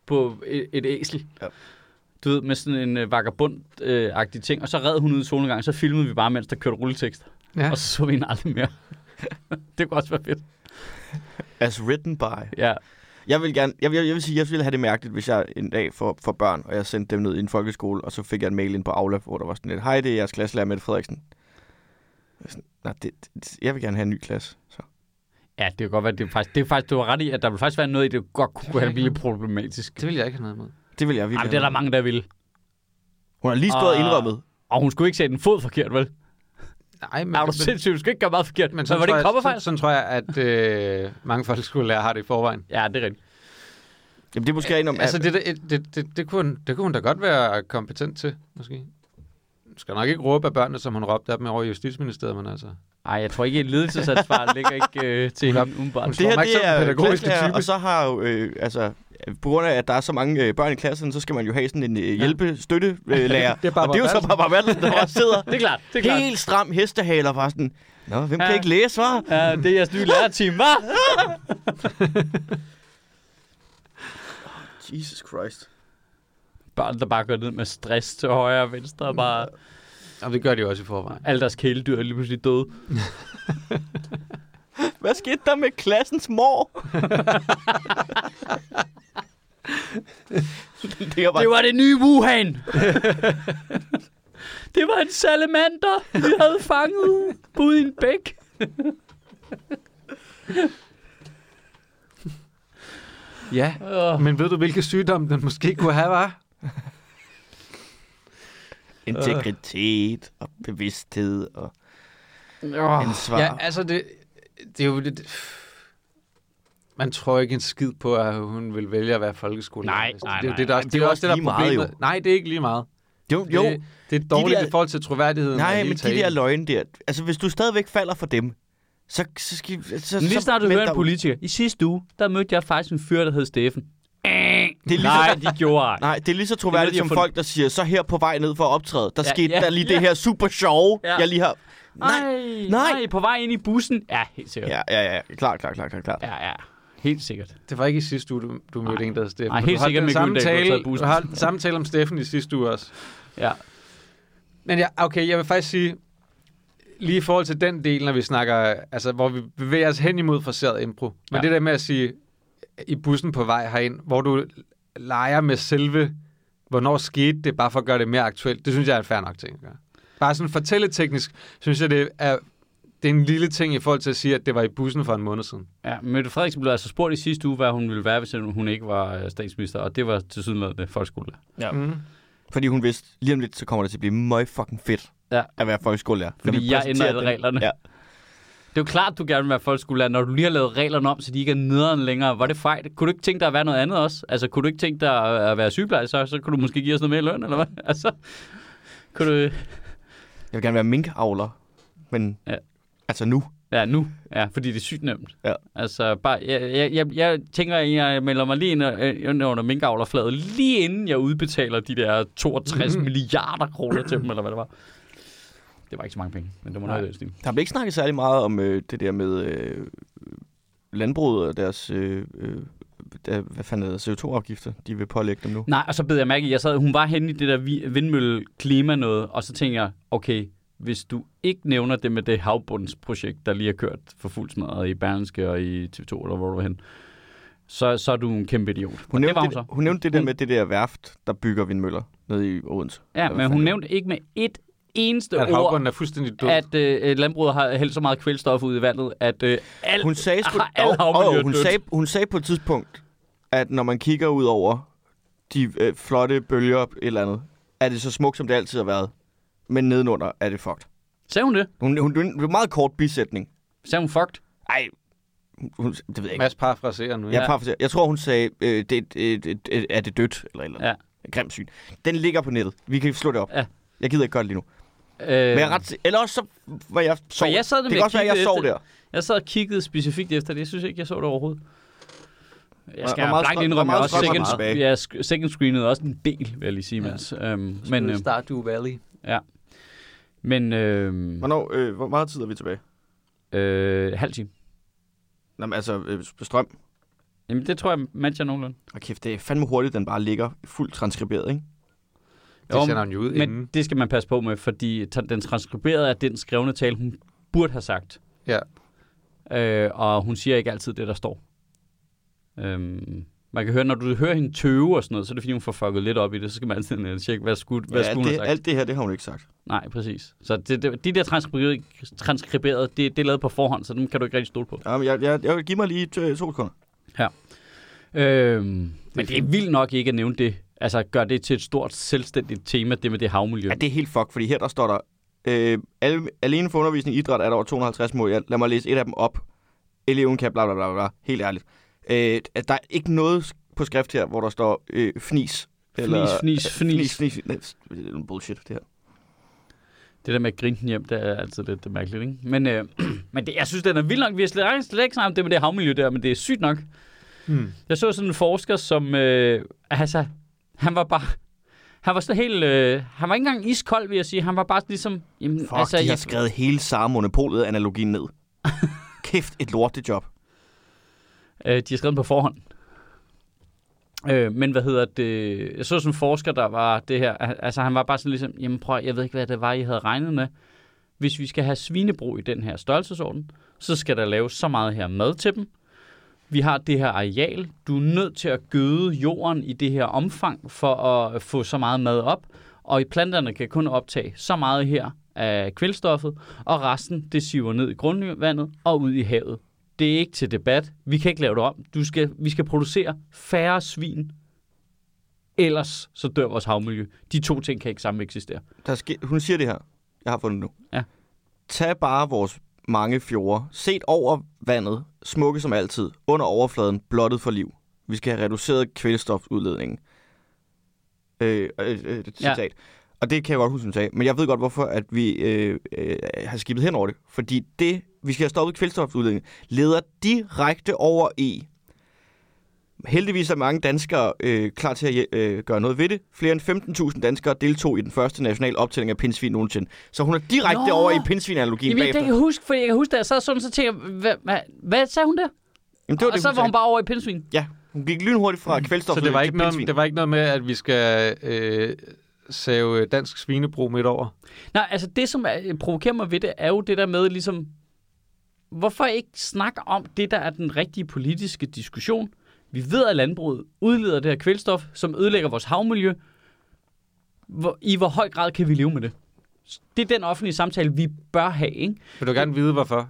Speaker 1: på et, et æsel.
Speaker 3: Ja.
Speaker 1: Du ved, med sådan en øh, vagabond-agtig ting. Og så red hun ud i solnedgang, så filmede vi bare, mens der kørte rulletekster.
Speaker 2: Ja.
Speaker 1: Ja. Og så så vi hende aldrig mere. det kunne også være fedt.
Speaker 3: as written by.
Speaker 1: Ja.
Speaker 3: Jeg vil gerne, jeg vil, jeg vil sige, jeg ville have det mærkeligt, hvis jeg en dag får, får børn, og jeg sendte dem ned i en folkeskole, og så fik jeg en mail ind på Aula, hvor der var sådan lidt, hej, det er jeres klasselærer Mette Frederiksen. Jeg er sådan, Nej, det, det, jeg vil gerne have en ny klasse. Så.
Speaker 1: Ja, det kan godt være, det er faktisk, det er faktisk, du har ret i, at der vil faktisk være noget i, det godt kunne have blive problematisk.
Speaker 2: Det vil jeg ikke have noget imod.
Speaker 3: Det vil jeg
Speaker 1: Ej,
Speaker 3: virkelig
Speaker 1: men det er der
Speaker 3: have.
Speaker 1: mange, der vil.
Speaker 3: Hun har lige stået og
Speaker 1: Ah.
Speaker 3: indrømmet.
Speaker 1: Og hun skulle ikke sætte en fod forkert, vel?
Speaker 2: Nej, men,
Speaker 1: Er du sindssyg? Du skal ikke gøre meget forkert. Men, men
Speaker 2: sådan
Speaker 1: var det
Speaker 2: tror
Speaker 1: en
Speaker 2: jeg- sådan,
Speaker 1: kopperfejl?
Speaker 2: sådan tror jeg, at øh, mange folkeskolelærere har det i forvejen.
Speaker 1: Ja, det er rigtigt.
Speaker 3: Jamen, det er måske en om...
Speaker 2: Altså, det, det, det, det, det, kunne, hun- det kunne hun da godt være kompetent til, måske. Hun skal nok ikke råbe af børnene, som hun råbte af dem over i Justitsministeriet, men altså...
Speaker 1: Ej, jeg tror ikke, et ledelsesansvar ligger ikke øh, til hende umiddelbart.
Speaker 3: det her,
Speaker 2: mig ikke
Speaker 3: det
Speaker 2: som den
Speaker 3: er
Speaker 2: pædagogiske
Speaker 3: klasselærer,
Speaker 2: type.
Speaker 3: og så har jo, øh, altså, på grund af, at der er så mange øh, børn i klassen, så skal man jo have sådan en øh, hjælpe, støtte, øh, lærer.
Speaker 2: Det er bare
Speaker 3: og det er jo så
Speaker 2: Barbara
Speaker 3: bare Bertelsen, der bare sidder
Speaker 1: Det er klart, det er klart.
Speaker 3: helt stram hestehaler bare sådan, Nå, hvem
Speaker 1: Ja.
Speaker 3: kan ikke læse, hva'?
Speaker 1: Ja, det er jeres nye lærerteam, hva'?
Speaker 3: Jesus Christ.
Speaker 1: Børn, der bare går ned med stress til højre og venstre, og bare
Speaker 2: Og det gør de jo også i forvejen.
Speaker 1: alle deres kæledyr er lige pludselig døde.
Speaker 3: Hvad skete der med klassens mor? det er bare...
Speaker 1: Det var det nye Wuhan! det var en salamander, vi havde fanget ude i en bæk.
Speaker 2: Ja,
Speaker 1: Åh,
Speaker 2: men ved du, hvilke sygdomme den måske kunne have, var?
Speaker 3: Integritet og bevidsthed og
Speaker 1: åh.
Speaker 3: ansvar.
Speaker 2: Ja, altså, det, det er jo... Det, det- man tror ikke en skid på, at hun vil vælge at være folkeskolelærer.
Speaker 1: Nej,
Speaker 2: det,
Speaker 1: nej,
Speaker 2: det, er jo
Speaker 1: nej.
Speaker 2: det, der,
Speaker 3: Jamen,
Speaker 2: det, er jo også det, der
Speaker 3: lige
Speaker 2: er
Speaker 3: meget,
Speaker 2: problemet.
Speaker 3: jo.
Speaker 2: Nej, det er ikke lige meget.
Speaker 3: jo,
Speaker 2: Det,
Speaker 3: jo.
Speaker 2: det er dårligt
Speaker 3: der-
Speaker 2: i forhold til troværdigheden. af
Speaker 3: Nej,
Speaker 2: hele
Speaker 3: men de
Speaker 2: talen.
Speaker 3: der løgne der. Altså, hvis du stadigvæk falder for dem, så, så skal... Så, så,
Speaker 1: Men Lige snart du
Speaker 3: meld
Speaker 1: hører
Speaker 3: dig
Speaker 1: en
Speaker 3: ud.
Speaker 1: politiker. I sidste uge, der mødte jeg faktisk en fyr, der hed Steffen.
Speaker 3: Det er lige
Speaker 1: Nej,
Speaker 3: så,
Speaker 1: de gjorde ej.
Speaker 3: nej, det er lige så
Speaker 1: noget,
Speaker 3: troværdigt
Speaker 1: de har
Speaker 3: som
Speaker 1: fundet-
Speaker 3: folk, der siger, så her på vej ned for at optræde, der
Speaker 1: Ja,
Speaker 3: skete
Speaker 1: ja,
Speaker 3: der lige
Speaker 1: ja.
Speaker 3: det her super sjove,
Speaker 1: Ja.
Speaker 3: jeg lige har... Nej.
Speaker 1: nej,
Speaker 3: nej.
Speaker 1: nej, på vej ind i bussen. Ja, helt sikkert.
Speaker 3: Ja, ja, ja. Klart, klart, klart, klart, klart. Ja.
Speaker 1: Ja, ja. Helt sikkert.
Speaker 2: Det var ikke i sidste uge, du, du mødte
Speaker 1: Nej.
Speaker 2: en, der hed Steffen.
Speaker 1: Nej,
Speaker 2: Du
Speaker 1: helt
Speaker 2: holdt
Speaker 1: sikkert
Speaker 2: den
Speaker 1: med
Speaker 2: samme
Speaker 1: Gyldendal, du har
Speaker 2: tale,
Speaker 1: taget bussen.
Speaker 2: Du har holdt den samme tale om Steffen i sidste uge også.
Speaker 1: Ja.
Speaker 2: Men ja, okay, jeg vil faktisk sige, lige i forhold til den del, når vi snakker, altså hvor vi bevæger os hen imod fraseret impro, men
Speaker 1: Ja.
Speaker 2: det der med at sige, i bussen på vej herind, hvor du leger med selve, hvornår skete det, bare for at gøre det mere aktuelt, det synes jeg er en fair nok ting at gøre. Bare sådan fortælleteknisk, synes jeg, det er, det er en lille ting i forhold til at sige, at det var i bussen for en måned siden.
Speaker 1: Ja, Mette Frederiksen blev altså spurgt i sidste uge, hvad hun ville være, hvis hun ikke var øh, statsminister, og det var til sydenlædende folkeskolelærer.
Speaker 4: Ja.
Speaker 2: Mm.
Speaker 3: Fordi hun vidste, lige om lidt, så kommer det til at blive meget fucking fedt
Speaker 1: Ja.
Speaker 3: at være folkeskolelærer. Når
Speaker 1: Fordi
Speaker 3: vi
Speaker 1: jeg
Speaker 3: præsenterer
Speaker 1: ændrer alle
Speaker 3: den-
Speaker 1: reglerne.
Speaker 3: Ja.
Speaker 1: Det er jo klart, du gerne vil være folkeskolelærer, når du lige har lavet reglerne om, så de ikke er nederen længere. Var det fejl? Kunne du ikke tænke dig at være noget andet også? Altså, kunne du ikke tænke dig at at være sygeplejerske, så, så kunne du måske give os noget mere i løn, eller hvad? Altså, kunne du...
Speaker 3: Jeg vil gerne være minkavler, men
Speaker 1: Ja.
Speaker 3: ja. altså nu.
Speaker 1: Ja, nu. Ja, fordi det er sygt nemt.
Speaker 3: Ja.
Speaker 1: Altså, bare, jeg, jeg, jeg, jeg tænker, at jeg melder mig lige ind øh, ind under minkavlerflaget, lige inden jeg udbetaler de der 62
Speaker 3: Mhm.
Speaker 1: milliarder kroner til dem, eller hvad det var. Det var ikke så mange penge, men det var noget i den stil.
Speaker 3: Der blev ikke snakket særlig meget om øh, det der med øh, landbruget og deres... Øh, øh, der, hvad fanden hedder CO2-afgifter, de vil pålægge dem nu.
Speaker 1: Nej, og så bed jeg mærke i, jeg sad, hun var henne i det der vi- vindmølle-klima noget, og så tænkte jeg, okay, hvis du ikke nævner det med det havbundsprojekt, der lige har kørt for fuld smadret i Berlingske og i TV2, eller hvor du var henne, så, så er du en kæmpe idiot.
Speaker 3: Hun
Speaker 1: Hun det
Speaker 3: nævnte
Speaker 1: var hun
Speaker 3: det,
Speaker 1: så.
Speaker 3: hun nævnte det der
Speaker 1: Hun-
Speaker 3: med det der værft, der bygger vindmøller nede i Odense.
Speaker 1: Ja,
Speaker 3: Eller
Speaker 1: men
Speaker 3: hvad
Speaker 1: hun
Speaker 3: fanden
Speaker 1: nævnte ikke med et eneste
Speaker 2: At
Speaker 1: ord,
Speaker 2: havbunden er fuldstændig død.
Speaker 1: at øh, landbruget har hældt så meget kvælstof ud i vandet, at øh, alt...
Speaker 3: Hun sagde, sgu,
Speaker 1: Ah, alle havmiljøer
Speaker 3: Åh,
Speaker 1: er
Speaker 3: hun,
Speaker 1: dødt.
Speaker 3: sagde, hun sagde på et tidspunkt, at når man kigger ud over de øh, flotte bølger et eller andet, er det så smukt, som det altid har været. Men nedenunder er det fucked.
Speaker 1: Sagde hun det?
Speaker 3: Hun, hun, hun, det var en meget kort bisætning.
Speaker 1: Sagde hun fucked?
Speaker 3: Ej, hun, hun, det ved jeg ikke.
Speaker 2: Mads parafraserer nu.
Speaker 3: Jeg,
Speaker 1: Ja.
Speaker 3: ja. parafraserer. jeg tror, hun sagde, øh, det, det, det, det, er det dødt? Eller et eller andet. Ja. Grim syn. Den ligger på nettet. Vi kan slå det op.
Speaker 1: Ja.
Speaker 3: Jeg gider ikke godt lige nu.
Speaker 1: Øh,
Speaker 3: Men jeg er ret... si- Eller også så var jeg sov.
Speaker 1: jeg sad
Speaker 3: det
Speaker 1: nemlig
Speaker 3: kan
Speaker 1: og
Speaker 3: også være, at jeg
Speaker 1: kiggede
Speaker 3: sov
Speaker 1: efter-
Speaker 3: der.
Speaker 1: Jeg sad og kiggede specifikt efter det. Jeg synes ikke, jeg så det overhovedet. Jeg
Speaker 3: Hvor-
Speaker 1: skal
Speaker 3: hvor meget
Speaker 1: blankt
Speaker 3: strøm-
Speaker 1: indrømme,
Speaker 3: hvor
Speaker 1: jeg
Speaker 3: meget
Speaker 1: også
Speaker 3: strøm
Speaker 1: second,
Speaker 3: var tilbage?
Speaker 1: ja, sk- second screenede også en del, vil jeg lige sige, mens. Øhm, men, øh,
Speaker 2: Stardew Valley.
Speaker 1: men øh,
Speaker 3: Hvornår, øh, hvor meget tid er vi tilbage?
Speaker 1: øh, halv time.
Speaker 3: Nå, men altså, øh, strøm.
Speaker 1: Jamen, det tror jeg matcher nogenlunde.
Speaker 3: Og kæft, det er fandme hurtigt, den bare ligger fuldt transkriberet, ikke?
Speaker 2: Det sender hun jo ud
Speaker 1: men
Speaker 2: inden.
Speaker 1: det skal man passe på med, fordi ta- den transkriberede er den skrevne tale, hun burde have sagt.
Speaker 2: Ja.
Speaker 1: Øh, og hun siger ikke altid det, der står. Øhm, man kan høre, når du hører hende tøve og sådan noget, så er det fordi, hun får fucket lidt op i det. Så skal man altid ned og tjekke, hvad skulle, hvad skulle hun have
Speaker 3: det,
Speaker 1: sagt.
Speaker 3: alt det her, det har hun ikke sagt.
Speaker 1: Nej, præcis. Så det, det, de der transkriberede, transkriberede det, det er lavet på forhånd, så dem kan du ikke rigtig stole på.
Speaker 3: Jamen, jeg, jeg, jeg vil give mig lige øh, to, to sekunder.
Speaker 1: Øhm, men det er
Speaker 3: fint.
Speaker 1: vildt nok ikke at nævne det. Altså, gør det til et stort, selvstændigt tema, det med det havmiljø.
Speaker 3: Ja, det er helt fuck, fordi her der står der, øh, alle, alene for undervisning i idræt er der over 250 mål. Jeg, lad mig læse et af dem op. Eleven kan bla bla bla, bla. helt ærligt. Øh, at der er ikke noget på skrift her, hvor der står øh, fnis.
Speaker 1: fnis, fnis.
Speaker 3: fnis, fnis. Nej, Det er noget bullshit, det her.
Speaker 1: Det der med at grine den hjem, det er altid lidt mærkeligt, ikke? Men, øh, men det, jeg synes, den er vild nok. Vi har slet, slet ikke snakket om det med det havmiljø der, men det er sygt nok.
Speaker 2: Hmm.
Speaker 1: Jeg så sådan en forsker, som... Øh, altså, han var bare... Han var så helt... Øh, han var ikke engang iskold, vil jeg sige. Han var bare ligesom... Jamen,
Speaker 3: Fuck, altså, de har
Speaker 1: jeg,
Speaker 3: skrevet hele Sara Monopolet-analogien ned. Kæft, et lortet job.
Speaker 1: Øh, de har skrevet den på forhånd. Øh, men hvad hedder det? Jeg så sådan en forsker, der var det her. al- Altså han var bare sådan ligesom, jamen prøv, at- jeg ved ikke, hvad det var, I havde regnet med. Hvis vi skal have svinebrug i den her størrelsesorden, så skal der laves så meget her mad til dem. Vi har det her areal. Du er nødt til at gøde jorden i det her omfang for at få så meget mad op. Og i planterne kan kun optage så meget her af kvælstoffet, og resten det siver ned i grundvandet og ud i havet det er ikke til debat. Vi kan ikke lave det om. Du skal, vi skal producere færre svin. Ellers så dør vores havmiljø. De to ting kan ikke sammen eksistere.
Speaker 3: Der ske, hun siger det her. Jeg har fundet det nu.
Speaker 1: Ja.
Speaker 3: Tag bare vores mange fjorde. Set over vandet, smukke som altid, under overfladen, blottet for liv. Vi skal have reduceret kvælstofudledningen. Øh, øh, øh, et
Speaker 1: Ja.
Speaker 3: citat. Ja. Og det kan jeg godt huske, hun sagde. Men jeg ved godt, hvorfor at vi øh, øh, har skibet hen over det. Fordi det, vi skal have stoppet kvælstofudledningen, leder direkte over i Heldigvis er mange danskere øh, klar til at øh, gøre noget ved det. Flere end 15.000 danskere deltog i den første nationale optælling af pindsvin nogensinde. Så hun er direkte
Speaker 1: Nå!
Speaker 3: Nå. over i pindsvin-analogien
Speaker 1: Jamen, jeg
Speaker 3: bagefter.
Speaker 1: kan
Speaker 3: Jamen,
Speaker 1: jeg huske, fordi jeg kan huske, da jeg sad sådan, så tænkte jeg, hvad, hvad, hvad sagde hun der? Det
Speaker 3: det var
Speaker 1: og
Speaker 3: det,
Speaker 1: så
Speaker 3: hun
Speaker 1: var hun
Speaker 3: sagde.
Speaker 1: bare Mm. over i pindsvin.
Speaker 3: Ja, hun gik lynhurtigt fra kvælstof
Speaker 2: Så det var,
Speaker 3: til
Speaker 2: ikke noget,
Speaker 3: pindsvin.
Speaker 2: det var ikke noget med, at vi skal øh, save dansk svinebrug midt over?
Speaker 1: Nej, altså det, som er, provokerer mig ved det, er jo det der med ligesom, hvorfor ikke snakke om det, der er den rigtige politiske diskussion? Vi ved, at landbruget udleder det her kvælstof, som ødelægger vores havmiljø. Hvor, I hvor høj grad kan vi leve med det? Det er den offentlige samtale, vi bør have, ikke?
Speaker 2: Vil du gerne vide, hvorfor?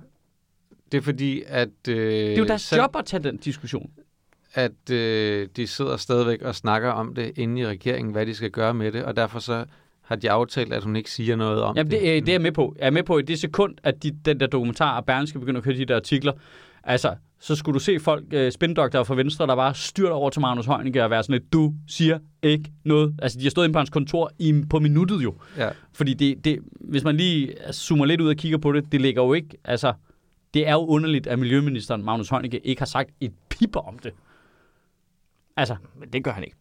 Speaker 2: Det er fordi, at... Øh,
Speaker 1: Det er jo deres job at tage den diskussion.
Speaker 2: at øh, de sidder stadigvæk og snakker om det inde i regeringen, hvad de skal gøre med det, og derfor så har de aftalt, at hun ikke siger noget om
Speaker 1: Jamen,
Speaker 2: det.
Speaker 1: det, øh, det er jeg med på. Jeg er med på, at i det sekund, at de, den der dokumentar og Berlingske begynder at køre de der artikler, altså, så skulle du se folk, øh, spindoktorer fra Venstre, der bare styrter over til Magnus Heunicke og være sådan lidt, du siger ikke noget. Altså, de har stået inde på hans kontor i, på minuttet jo.
Speaker 2: Ja.
Speaker 1: Fordi det, det, hvis man lige altså, zoomer lidt ud og kigger på det, det ligger jo ikke, altså, det er jo underligt, at Miljøministeren Magnus Heunicke ikke har sagt et piper om det. Altså,
Speaker 3: Men det gør han ikke.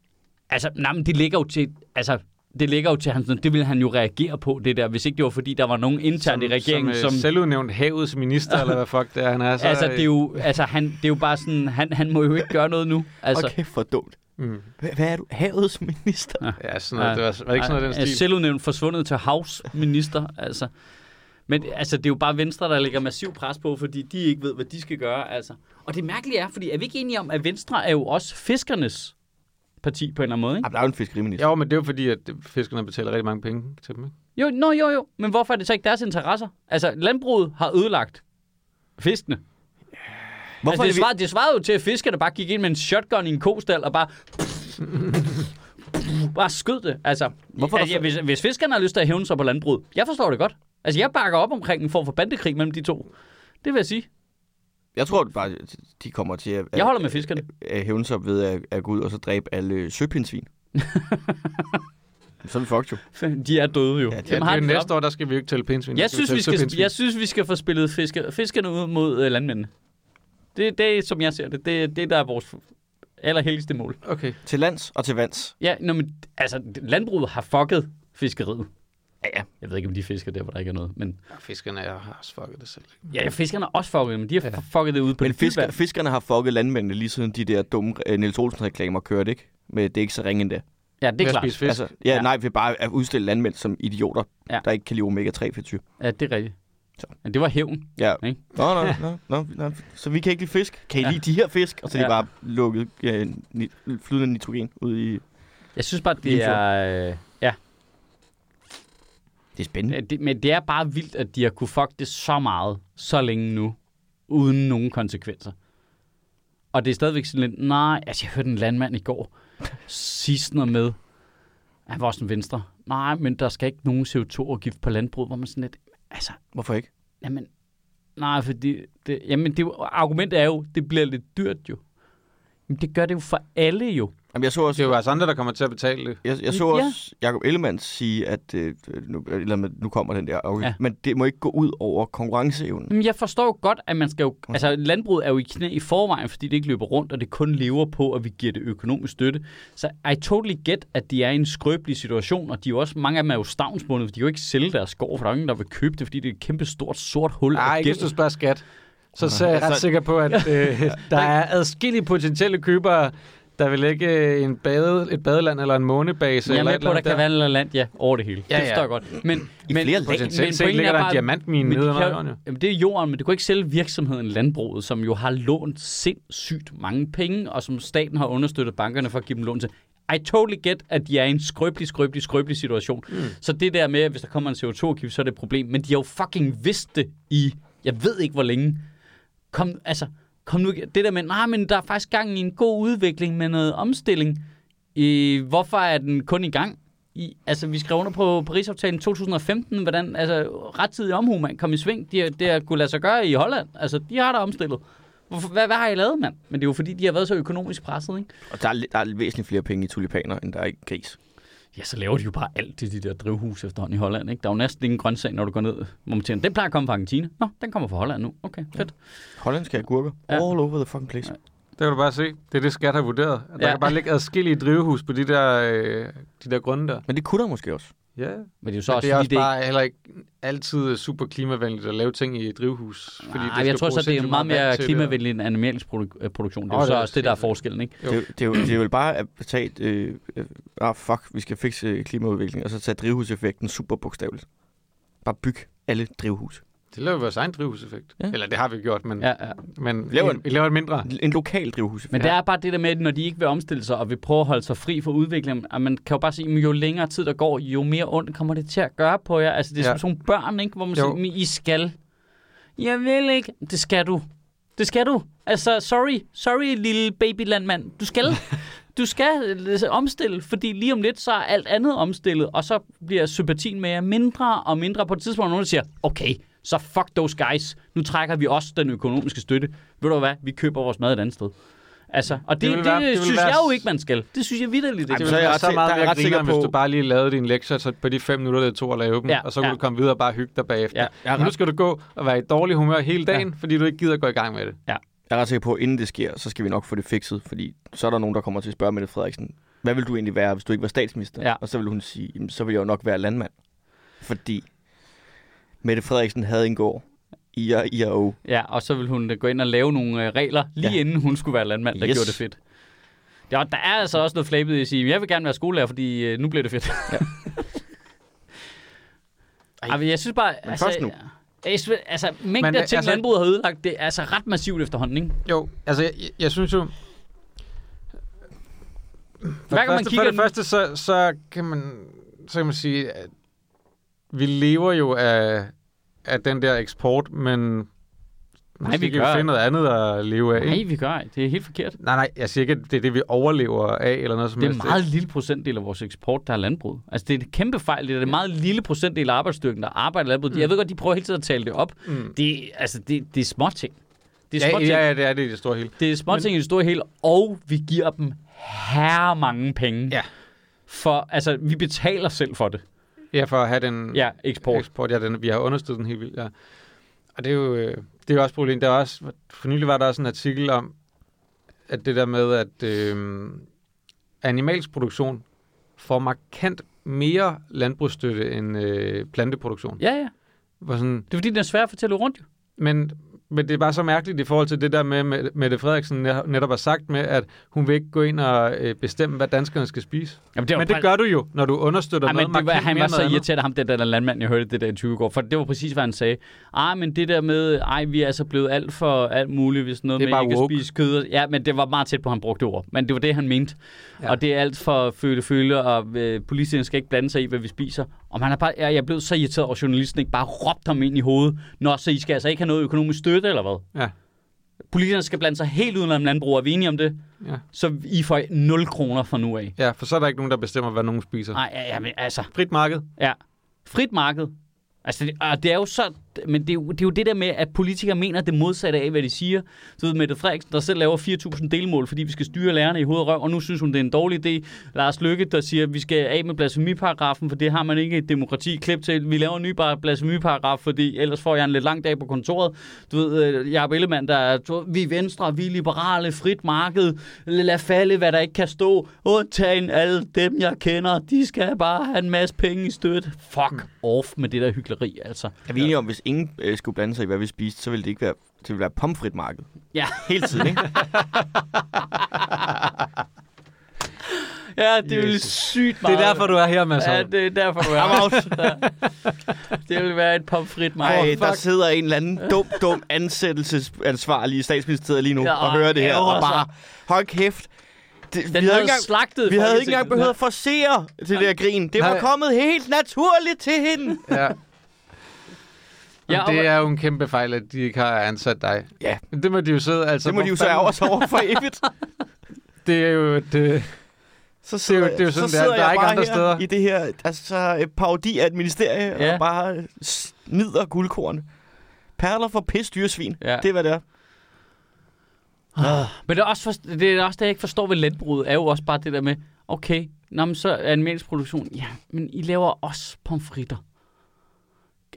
Speaker 1: Altså, nej, men det ligger jo til... Altså, det ligger jo til hans... Det ville han jo reagere på, det der, hvis ikke det var, fordi der var nogen internt i regeringen,
Speaker 2: som,
Speaker 1: som...
Speaker 2: øh,
Speaker 1: som
Speaker 2: selvudnævnt havets minister, eller hvad fuck det er, han er. Så,
Speaker 1: altså, det er jo, altså han, det er jo bare sådan... Han, han må jo ikke gøre noget nu. Altså,
Speaker 3: Altså, okay, for dumt.
Speaker 2: Mm,
Speaker 3: Hva- Hvad er du? Havets minister?
Speaker 2: ja, sådan noget, det var, var det ikke sådan noget, den
Speaker 1: altså,
Speaker 2: stil?
Speaker 1: Selvudnævnt forsvundet til havsminister, altså. Men altså, det er jo bare Venstre, der lægger massiv pres på, fordi de ikke ved, hvad de skal gøre. Altså. Og det mærkelige er, fordi er vi ikke enige om, at Venstre er jo også fiskernes parti på en eller anden måde, ikke?
Speaker 3: Jamen, der er jo en fiskeriminister.
Speaker 2: Jo, men det er jo fordi, at fiskerne betaler rigtig mange penge til dem, ikke?
Speaker 1: Jo, no, jo, jo. Men hvorfor er det så ikke deres interesser? Altså, landbruget har ødelagt fiskene. Hvorfor altså, det, svarede, det svarede jo til, at fiskerne bare gik ind med en shotgun i en kostal og bare... bare skød det. Altså,
Speaker 3: Hvorfor
Speaker 1: Hvorfor
Speaker 3: er der
Speaker 1: altså
Speaker 3: så-
Speaker 1: hvis, hvis fiskerne har lyst til at hævne sig på landbruget, jeg forstår det godt. Altså, jeg bakker op omkring en form for bandekrig mellem de to. Det vil jeg sige.
Speaker 3: Jeg tror bare, at de kommer til at,
Speaker 1: Jeg holder med fiskerne.
Speaker 3: at hævne sig ved at, at gå ud og så dræbe alle søpindsvin. så er vi fucked jo.
Speaker 1: De er døde jo.
Speaker 3: Ja,
Speaker 1: Dem
Speaker 3: det
Speaker 2: Ja, det
Speaker 1: de
Speaker 2: er jo
Speaker 1: op.
Speaker 2: næste år, der skal vi jo ikke tælle pindsvin. der
Speaker 1: Jeg synes,
Speaker 2: tælle
Speaker 1: vi skal,
Speaker 2: søpindsvin.
Speaker 1: jeg synes, vi skal få spillet fiske, fiskerne ud mod øh, landmændene. Det, det er, som jeg ser det, det, er- det der er vores allerhelligste mål.
Speaker 2: Okay.
Speaker 3: Til lands og til vands.
Speaker 1: Ja, nå, men, altså, landbruget har fucket fiskeriet.
Speaker 3: Ja, ja.
Speaker 1: Jeg ved ikke, om de fisker der, hvor der ikke er noget. Men
Speaker 2: Ja, Fiskerne jeg har også fucket det selv. ikke?
Speaker 1: ja, fiskerne har også fucket det, men de har ja. fucket det ude på
Speaker 3: Men
Speaker 1: det dybe
Speaker 3: fisker,
Speaker 1: vand.
Speaker 3: fiskerne har fucket landmændene lige siden de der dumme uh, Niels Olsen-reklamer kørte, ikke? Men det er ikke så ringe endda.
Speaker 1: Ja, det
Speaker 2: Ved
Speaker 1: er
Speaker 2: at
Speaker 1: klart.
Speaker 2: spise fisk.
Speaker 3: Altså, ja,
Speaker 1: Ja.
Speaker 3: ja, nej, vi bare at udstille landmænd som idioter,
Speaker 1: Ja.
Speaker 3: ja. der ikke kan lide omega-3-fedtyr.
Speaker 1: Ja, det er rigtigt.
Speaker 3: Så.
Speaker 1: Men det var hævn.
Speaker 3: Ja.
Speaker 1: Ikke?
Speaker 3: Nå, nå, nå, nå, nå, så vi kan ikke lide fisk. Kan I
Speaker 1: Ja.
Speaker 3: ja. lide de her fisk? Og så er de
Speaker 1: Ja.
Speaker 3: bare lukket ja, ni, flydende nitrogen ud i...
Speaker 1: Jeg synes bare, det
Speaker 3: Lige
Speaker 1: er... øh, Ja,
Speaker 3: Det er spændende.
Speaker 1: Øh, det, men det er bare vildt, at de har kunne fuck det så meget, så længe nu, uden nogen konsekvenser. Og det er stadigvæk sådan lidt, nej, altså jeg hørte en landmand i går sige sådan noget med, han var også en venstre, nej, men der skal ikke nogen CO2-afgift på landbruget, hvor man sådan lidt, altså,
Speaker 3: Hvorfor ikke?
Speaker 1: Jamen, nej, fordi... Det, jamen, det, er jo- argumentet er jo, det bliver lidt dyrt jo. Men det gør det jo for alle jo.
Speaker 3: Jamen, jeg så også...
Speaker 2: Det er jo altså andre, der kommer til at betale det.
Speaker 3: Jeg, jeg så
Speaker 1: Ja.
Speaker 3: også Jacob Ellemann sige, at øh, nu, eller, med- nu kommer den der, okay.
Speaker 1: Ja. Mm.
Speaker 3: ja. men det må ikke gå ud over konkurrenceevnen.
Speaker 1: Men jeg forstår jo godt, at man skal jo...
Speaker 2: Mm.
Speaker 1: Altså, landbruget er jo i knæ i forvejen, fordi det ikke løber rundt, og det kun lever på, at vi giver det økonomisk støtte. Så I totally get, at de er i en skrøbelig situation, og de er jo også, mange af dem er jo stavnsbundet, for de kan jo ikke sælge deres skov, for der er jo ingen, der vil købe det, fordi det er et kæmpe stort sort hul. af
Speaker 2: Nej, ikke hvis du
Speaker 1: gæld.
Speaker 2: spørger skat. Så, så er jeg ret
Speaker 3: Altså-
Speaker 2: sikker på, at øh, der er adskillige potentielle købere, der vil lægge en bade, et badeland eller en månebase.
Speaker 1: jeg er
Speaker 2: eller
Speaker 1: med
Speaker 2: et
Speaker 1: på,
Speaker 2: eller
Speaker 1: at der
Speaker 2: andet
Speaker 1: kan være land, land ja, over det hele.
Speaker 2: Ja,
Speaker 1: det forstår
Speaker 2: ja.
Speaker 1: jeg godt. Men,
Speaker 3: I
Speaker 1: men,
Speaker 3: flere lag.
Speaker 2: Potentielt set
Speaker 1: pointen
Speaker 2: ligger
Speaker 1: er
Speaker 2: der en
Speaker 1: bare-
Speaker 2: diamantmine
Speaker 1: Men
Speaker 2: nede
Speaker 1: de
Speaker 2: under
Speaker 1: kan,
Speaker 2: jorden, jo.
Speaker 1: jamen, det er jorden, men du kan ikke sælge virksomheden landbruget, som jo har lånt sindssygt mange penge, og som staten har understøttet bankerne for at give dem lån til. I totally get, at de er i en skrøbelig, skrøbelig, skrøbelig situation. Mm. Så det der med, at hvis der kommer en CO2-kiv, så er det et problem. Men de har jo fucking vidst det i, jeg ved ikke hvor længe. Kom, altså, kom nu, ikke- det der med, nej, men der er faktisk gang i en god udvikling med noget omstilling. Øh, hvorfor er den kun i gang? I, altså, vi skrev under på Paris-aftalen 2015, hvordan altså, rettidig omhu, man kom i sving. Det, er- det har kunne lade sig gøre i Holland. Altså, de har der omstillet. Hvorfor, hvad, hvad har I lavet, mand? Men det er jo fordi, de har været så økonomisk presset, ikke?
Speaker 3: Og der er, li- der er væsentligt flere penge i tulipaner, end der er i gris.
Speaker 1: Ja, så laver de jo bare alt til de der drivhus efterhånden i Holland, ikke? Der er jo næsten ingen grøntsag, når du går ned, hvor man tænker, den plejer at komme fra Argentina. Nå, den kommer fra Holland nu. Okay, fedt.
Speaker 3: Hollandske agurker.
Speaker 1: Ja.
Speaker 3: Ja. All over the fucking place.
Speaker 2: Det kan du bare se. Det er det, skat har vurderet. At Der
Speaker 1: Ja.
Speaker 2: kan bare ligge adskillige drivhus på de der, øh, de der grunde der.
Speaker 3: Men det kunne der måske også.
Speaker 2: Ja,
Speaker 1: Men det er jo så
Speaker 2: så
Speaker 1: også,
Speaker 2: det er
Speaker 1: fordi
Speaker 2: også bare heller ikke altid super klimavenligt at lave ting i et drivhus. Fordi
Speaker 1: Nej,
Speaker 2: skal
Speaker 1: jeg tror så,
Speaker 2: bruge
Speaker 1: det er
Speaker 2: sindssygt
Speaker 1: meget
Speaker 2: vand
Speaker 1: mere
Speaker 2: til det.
Speaker 1: klimavenlig end animalsk produ- øh, produktion. Det er
Speaker 2: Åh,
Speaker 1: jo
Speaker 2: det
Speaker 1: så
Speaker 2: er
Speaker 1: også det, der er
Speaker 2: sindssygt.
Speaker 1: forskellen, ikke?
Speaker 2: Jo.
Speaker 3: Det, er jo- det, er jo, det er vel bare at tage et, øh, øh, ah fuck, vi skal øh, fikse klimaudviklingen, og så tage drivhuseffekten super bogstaveligt. Bare byg alle drivhus.
Speaker 2: Det laver vi vores egen drivhuseffekt.
Speaker 3: Ja.
Speaker 2: Ja. Eller det har vi gjort, men, ja.
Speaker 1: Ja, ja.
Speaker 2: men
Speaker 3: Laver en-
Speaker 2: vi laver en mindre.
Speaker 3: En lokal drivhus.
Speaker 1: Ah. Men ja. det er bare det der med, at når de ikke vil omstille sig, og vil prøve at holde sig fri for udviklingen, at man kan jo bare sige, at jo længere tid der går, jo mere ondt kommer det til at gøre på jer. Altså, det er ja.
Speaker 2: Ja.
Speaker 1: som sådan nogle børn, ikke? hvor man
Speaker 2: Jo.
Speaker 1: siger, "Men I skal. Jeg vil ikke. Det skal du. Det skal du. Altså, sorry. Sorry, lille babylandmand. Du skal. Du skal øh, omstille, fordi lige om lidt, så er alt andet omstillet, og så bliver sympatien med jer mindre og mindre. På et tidspunkt, hvor nogen siger, okay, så fuck those guys. Nu trækker vi også den økonomiske støtte. Ved du hvad? Vi køber vores mad et andet sted. Altså, og det, det,
Speaker 2: Det vil
Speaker 1: det,
Speaker 2: være-
Speaker 1: være,
Speaker 2: det vil
Speaker 1: synes
Speaker 2: være-
Speaker 1: jeg jo ikke, man skal. Det synes jeg vidderligt
Speaker 3: Ej,
Speaker 1: ikke.
Speaker 2: Det
Speaker 3: men
Speaker 1: Ej,
Speaker 2: ville
Speaker 3: så er jeg
Speaker 2: være
Speaker 3: ret
Speaker 2: så
Speaker 3: si- der er
Speaker 2: meget
Speaker 3: jeg
Speaker 2: mere
Speaker 3: ret sikker
Speaker 2: griner, hvis
Speaker 3: på-
Speaker 2: du bare lige lavede din lektier så på de fem minutter, det tog at lave dem,
Speaker 1: Ja,
Speaker 2: ja, og så kunne
Speaker 1: ja.
Speaker 2: du komme videre og bare hygge dig bagefter.
Speaker 1: Ja.
Speaker 2: Ja, ja, men nu skal du gå og være i dårlig humør hele dagen, ja. fordi du ikke gider at gå i gang med det.
Speaker 3: Jeg er ret sikker på, at inden det sker, så skal vi nok få det fikset, fordi så er der nogen, der kommer til at spørge Mette Frederiksen, hvad vil du egentlig være, hvis du ikke var statsminister?
Speaker 1: Ja.
Speaker 3: Og så vil hun sige, "Jamen, så vil jeg jo nok være landmand. Fordi Mette Frederiksen havde en gård i IRO.
Speaker 1: Ja, og så ville hun øh, gå ind og lave nogle øh, regler, lige
Speaker 3: Ja.
Speaker 1: ja. inden hun skulle være landmand, der
Speaker 3: Yes.
Speaker 1: yes. gjorde det fedt. Ja, og der er altså også noget flabet i at sige, jeg vil gerne være skolelærer, fordi øh, nu bliver det fedt. Ja. Ej, men jeg synes bare... Men altså,
Speaker 3: først nu.
Speaker 1: Jeg synes, altså, mængden
Speaker 2: Men,
Speaker 1: af
Speaker 2: øh,
Speaker 1: ting, altså,
Speaker 2: altså-
Speaker 1: landbruget har ødelagt, det er altså ret massivt efterhånden, ikke?
Speaker 2: Jo, altså, jeg, jeg, jeg synes jo... For,
Speaker 1: gang man
Speaker 2: det første,
Speaker 1: kigger
Speaker 2: for det
Speaker 1: den-
Speaker 2: første, så, så, kan man, så kan man sige, at vi lever jo af, af den der eksport, men måske
Speaker 1: vi
Speaker 2: kan
Speaker 1: gør-
Speaker 2: vi finde noget andet at leve af. ikke?
Speaker 1: Nej, vi gør ikke. Det er helt forkert.
Speaker 2: Nej, nej, jeg siger ikke, at det er det, vi overlever af, eller noget som
Speaker 1: Det er en
Speaker 2: helst.
Speaker 1: meget lille procentdel af vores eksport, der er landbrug. Altså, det er en kæmpe fejl. Det er en meget lille procentdel af arbejdsstyrken, der arbejder i landbruget. Jeg ved godt, de prøver hele tiden at tale det op. Mm. Det, er- altså, det, det er små ting. Det er små
Speaker 2: Ja,
Speaker 1: ting.
Speaker 2: ja, ja, det er det i det store hele.
Speaker 1: Det er småting i det store hele, og vi giver dem herre mange penge.
Speaker 2: Ja.
Speaker 1: For, altså, vi betaler selv for det.
Speaker 2: Ja, for at have den
Speaker 1: Ja, eksport.
Speaker 2: eksport. Ja, den, vi har understøttet den helt vildt, ja. Og det er jo, øh, det er jo også et problem. Der er også, for nylig var der også en artikel om, at det der med, at øh, animalsk produktion får markant mere landbrugsstøtte end øh, planteproduktion.
Speaker 1: Ja, ja.
Speaker 2: Hvor sådan,
Speaker 1: Det er fordi, den er svær at fortælle rundt, jo.
Speaker 2: men, men det er bare så mærkeligt i forhold til det der med, med Mette Frederiksen net- netop har sagt med, at hun vil ikke gå ind og øh, bestemme, hvad danskerne skal spise.
Speaker 1: Jamen, det
Speaker 2: Men det gør du jo, når du understøtter
Speaker 1: Ej,
Speaker 2: noget
Speaker 1: men det var,
Speaker 2: markant
Speaker 1: han
Speaker 2: mere
Speaker 1: var
Speaker 2: end
Speaker 1: så
Speaker 2: noget andet.
Speaker 1: irriteret af ham, den der landmand, jeg hørte det der i 20 går. For det var præcis, hvad han sagde. Ej, men det der med, ej, vi er altså blevet alt for alt muligt, hvis noget
Speaker 2: Det er
Speaker 1: med,
Speaker 2: bare
Speaker 1: I kan
Speaker 2: woke.
Speaker 1: spise kød. Ja, men det var meget tæt på, at han brugte ord. Men det var det, han mente. Ja.
Speaker 2: Ja.
Speaker 1: Og det er alt for føle-føle, og øh, politikerne skal ikke blande sig i, hvad vi spiser. Og man er bare, jeg, jeg blev så irriteret over, at journalisten ikke bare råbte ham ind i hovedet. Nå, så I skal altså ikke have noget økonomisk støtte, eller hvad?
Speaker 2: Ja.
Speaker 1: Politikerne skal blande sig helt udenom landbrug, er vi enige om det?
Speaker 2: Ja.
Speaker 1: Så I får 0 kroner fra nu af.
Speaker 2: Ja, for så er der ikke nogen, der bestemmer, hvad nogen spiser.
Speaker 1: Nej, ja, ja, men altså.
Speaker 2: Frit marked.
Speaker 1: Ja. Frit marked. Altså, det, og det er jo så... Men det er jo, det er jo det der med, at politikere mener det modsatte af, hvad de siger. Du ved, Mette Frederiksen, der selv laver 4.000 delmål, fordi vi skal styre lærerne i hoved og røv, og nu synes hun, det er en dårlig idé. Lars Lykke, der siger, at vi skal af med blasfemiparagrafen, for det har man ikke et demokrati klip til. Vi laver en ny bare blasfemiparagraf, fordi ellers får jeg en lidt lang dag på kontoret. Du ved, øh, Jacob Ellemann, der er, du ved, vi er venstre, vi er liberale, frit marked, lad falde, hvad der ikke kan stå. Undtagen alle dem, jeg kender, de skal bare have en masse penge i støtte. Fuck off med det der hyggeleri, altså.
Speaker 3: Er vi enige om, hvis ingen øh, skulle blande sig i, hvad vi spiste, så ville det ikke være, det ville være pomfrit marked.
Speaker 1: Ja,
Speaker 3: Hele tiden, ikke?
Speaker 1: ja det er jo
Speaker 2: Jesus.
Speaker 1: sygt
Speaker 2: Det
Speaker 1: meget.
Speaker 2: er derfor, du er her, Mads.
Speaker 1: Ja,
Speaker 2: Ja,
Speaker 1: det er derfor, du er.
Speaker 3: I'm out.
Speaker 1: Det vil være et pomfrit marked.
Speaker 3: Ej, øh, der sidder en eller anden dum, dum ansættelsesansvarlig i statsministeriet lige nu
Speaker 1: Ja,
Speaker 3: og hører det her.
Speaker 1: ærger
Speaker 3: Og bare, hold kæft. Det,
Speaker 1: Den havde slagtet
Speaker 3: Vi havde ikke
Speaker 1: Folketinget.
Speaker 3: engang behøvet at forcere til det der grin. Det var
Speaker 2: Nej.
Speaker 3: kommet helt naturligt til hende.
Speaker 2: ja.
Speaker 1: Ja,
Speaker 2: ja
Speaker 1: og-
Speaker 2: det er jo en kæmpe fejl, at de ikke har ansat dig.
Speaker 3: Ja.
Speaker 2: Men det må de jo sidde. Altså,
Speaker 3: Det må de jo så
Speaker 2: hvorfor-
Speaker 3: ærge os over for evigt.
Speaker 2: Det er jo et... øh,
Speaker 3: Så
Speaker 2: sidder- det er jo sådan, det er. Der er ikke
Speaker 3: bare
Speaker 2: andre
Speaker 3: her
Speaker 2: steder.
Speaker 3: i det her altså, øh, parodi af et ministerie, ja.
Speaker 1: Ja.
Speaker 3: og bare snider guldkorn. Perler for pisdyresvin. Ja.
Speaker 1: Ja.
Speaker 3: Det er, hvad det er.
Speaker 1: Men det er, også for, det er også det, jeg ikke forstår ved landbruget, er jo også bare det der med, okay, nå, men så er animalsk produktion, ja, men I laver også pomfritter.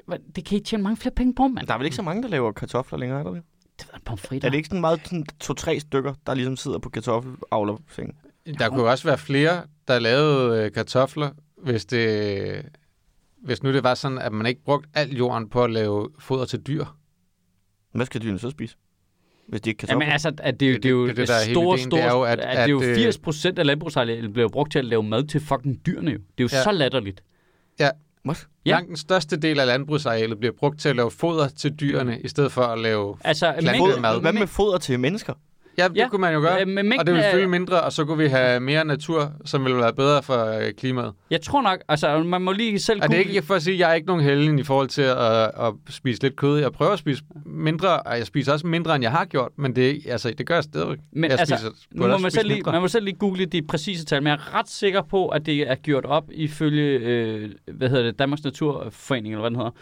Speaker 1: Hvad- Det kan I tjene mange flere penge på, mand.
Speaker 3: Men der er vel ikke så mange, der laver kartofler længere, er der det?
Speaker 1: Det er pomfritter.
Speaker 3: Er det ikke sådan meget sådan to-tre stykker, der ligesom sidder på kartoffelavlersengen?
Speaker 2: Der kunne jo også være flere, der lavede øh, kartofler, hvis det... Hvis nu det var sådan, at man ikke brugte al jorden på at lave foder til dyr.
Speaker 3: Hvad skal dyrene så spise? Hvis de ikke kan
Speaker 1: Jamen
Speaker 3: Jamen,
Speaker 1: altså, at det, er jo-
Speaker 2: Det-
Speaker 1: det, er jo det,
Speaker 2: det- det,
Speaker 1: det,
Speaker 2: der er hele
Speaker 1: store,
Speaker 2: ideen,
Speaker 1: store,
Speaker 2: det er jo,
Speaker 1: at,
Speaker 2: at-
Speaker 1: at, det er jo
Speaker 2: at, øh,
Speaker 1: 80 procent af landbrugsarealet bliver brugt til at lave mad til fucking dyrene jo. Det er jo ja.
Speaker 2: Ja.
Speaker 1: så latterligt.
Speaker 3: What?
Speaker 1: Ja.
Speaker 2: Ja. Langt den største del af landbrugsarealet bliver brugt til at lave foder til dyrene, i stedet for at lave...
Speaker 1: Altså,
Speaker 2: Plantet
Speaker 1: mængden-
Speaker 2: mad.
Speaker 3: Hvad med foder til mennesker?
Speaker 2: Ja, det
Speaker 1: Ja,
Speaker 2: ja. kunne man jo gøre,
Speaker 1: øh, men mængden
Speaker 2: og det ville
Speaker 1: af-
Speaker 2: fylde mindre, og så kunne vi have mere natur, som ville være bedre for øh, klimaet.
Speaker 1: Jeg tror nok, altså man må lige selv
Speaker 2: Er det
Speaker 1: google-
Speaker 2: ikke for at sige, at jeg er ikke nogen helgen i forhold til at, at spise lidt kød? Jeg prøver at spise mindre, og jeg spiser også mindre, end jeg har gjort, men det, er- altså, det gør jeg stadigvæk.
Speaker 1: Men
Speaker 2: jeg
Speaker 1: altså,
Speaker 2: spiser, burde
Speaker 1: Nu må
Speaker 2: også
Speaker 1: man,
Speaker 2: spise
Speaker 1: selv lige,
Speaker 2: mindre.
Speaker 1: man må selv lige google de præcise tal, men jeg er ret sikker på, at det er gjort op ifølge øh, hvad hedder det, Danmarks Naturforening, eller hvad den hedder,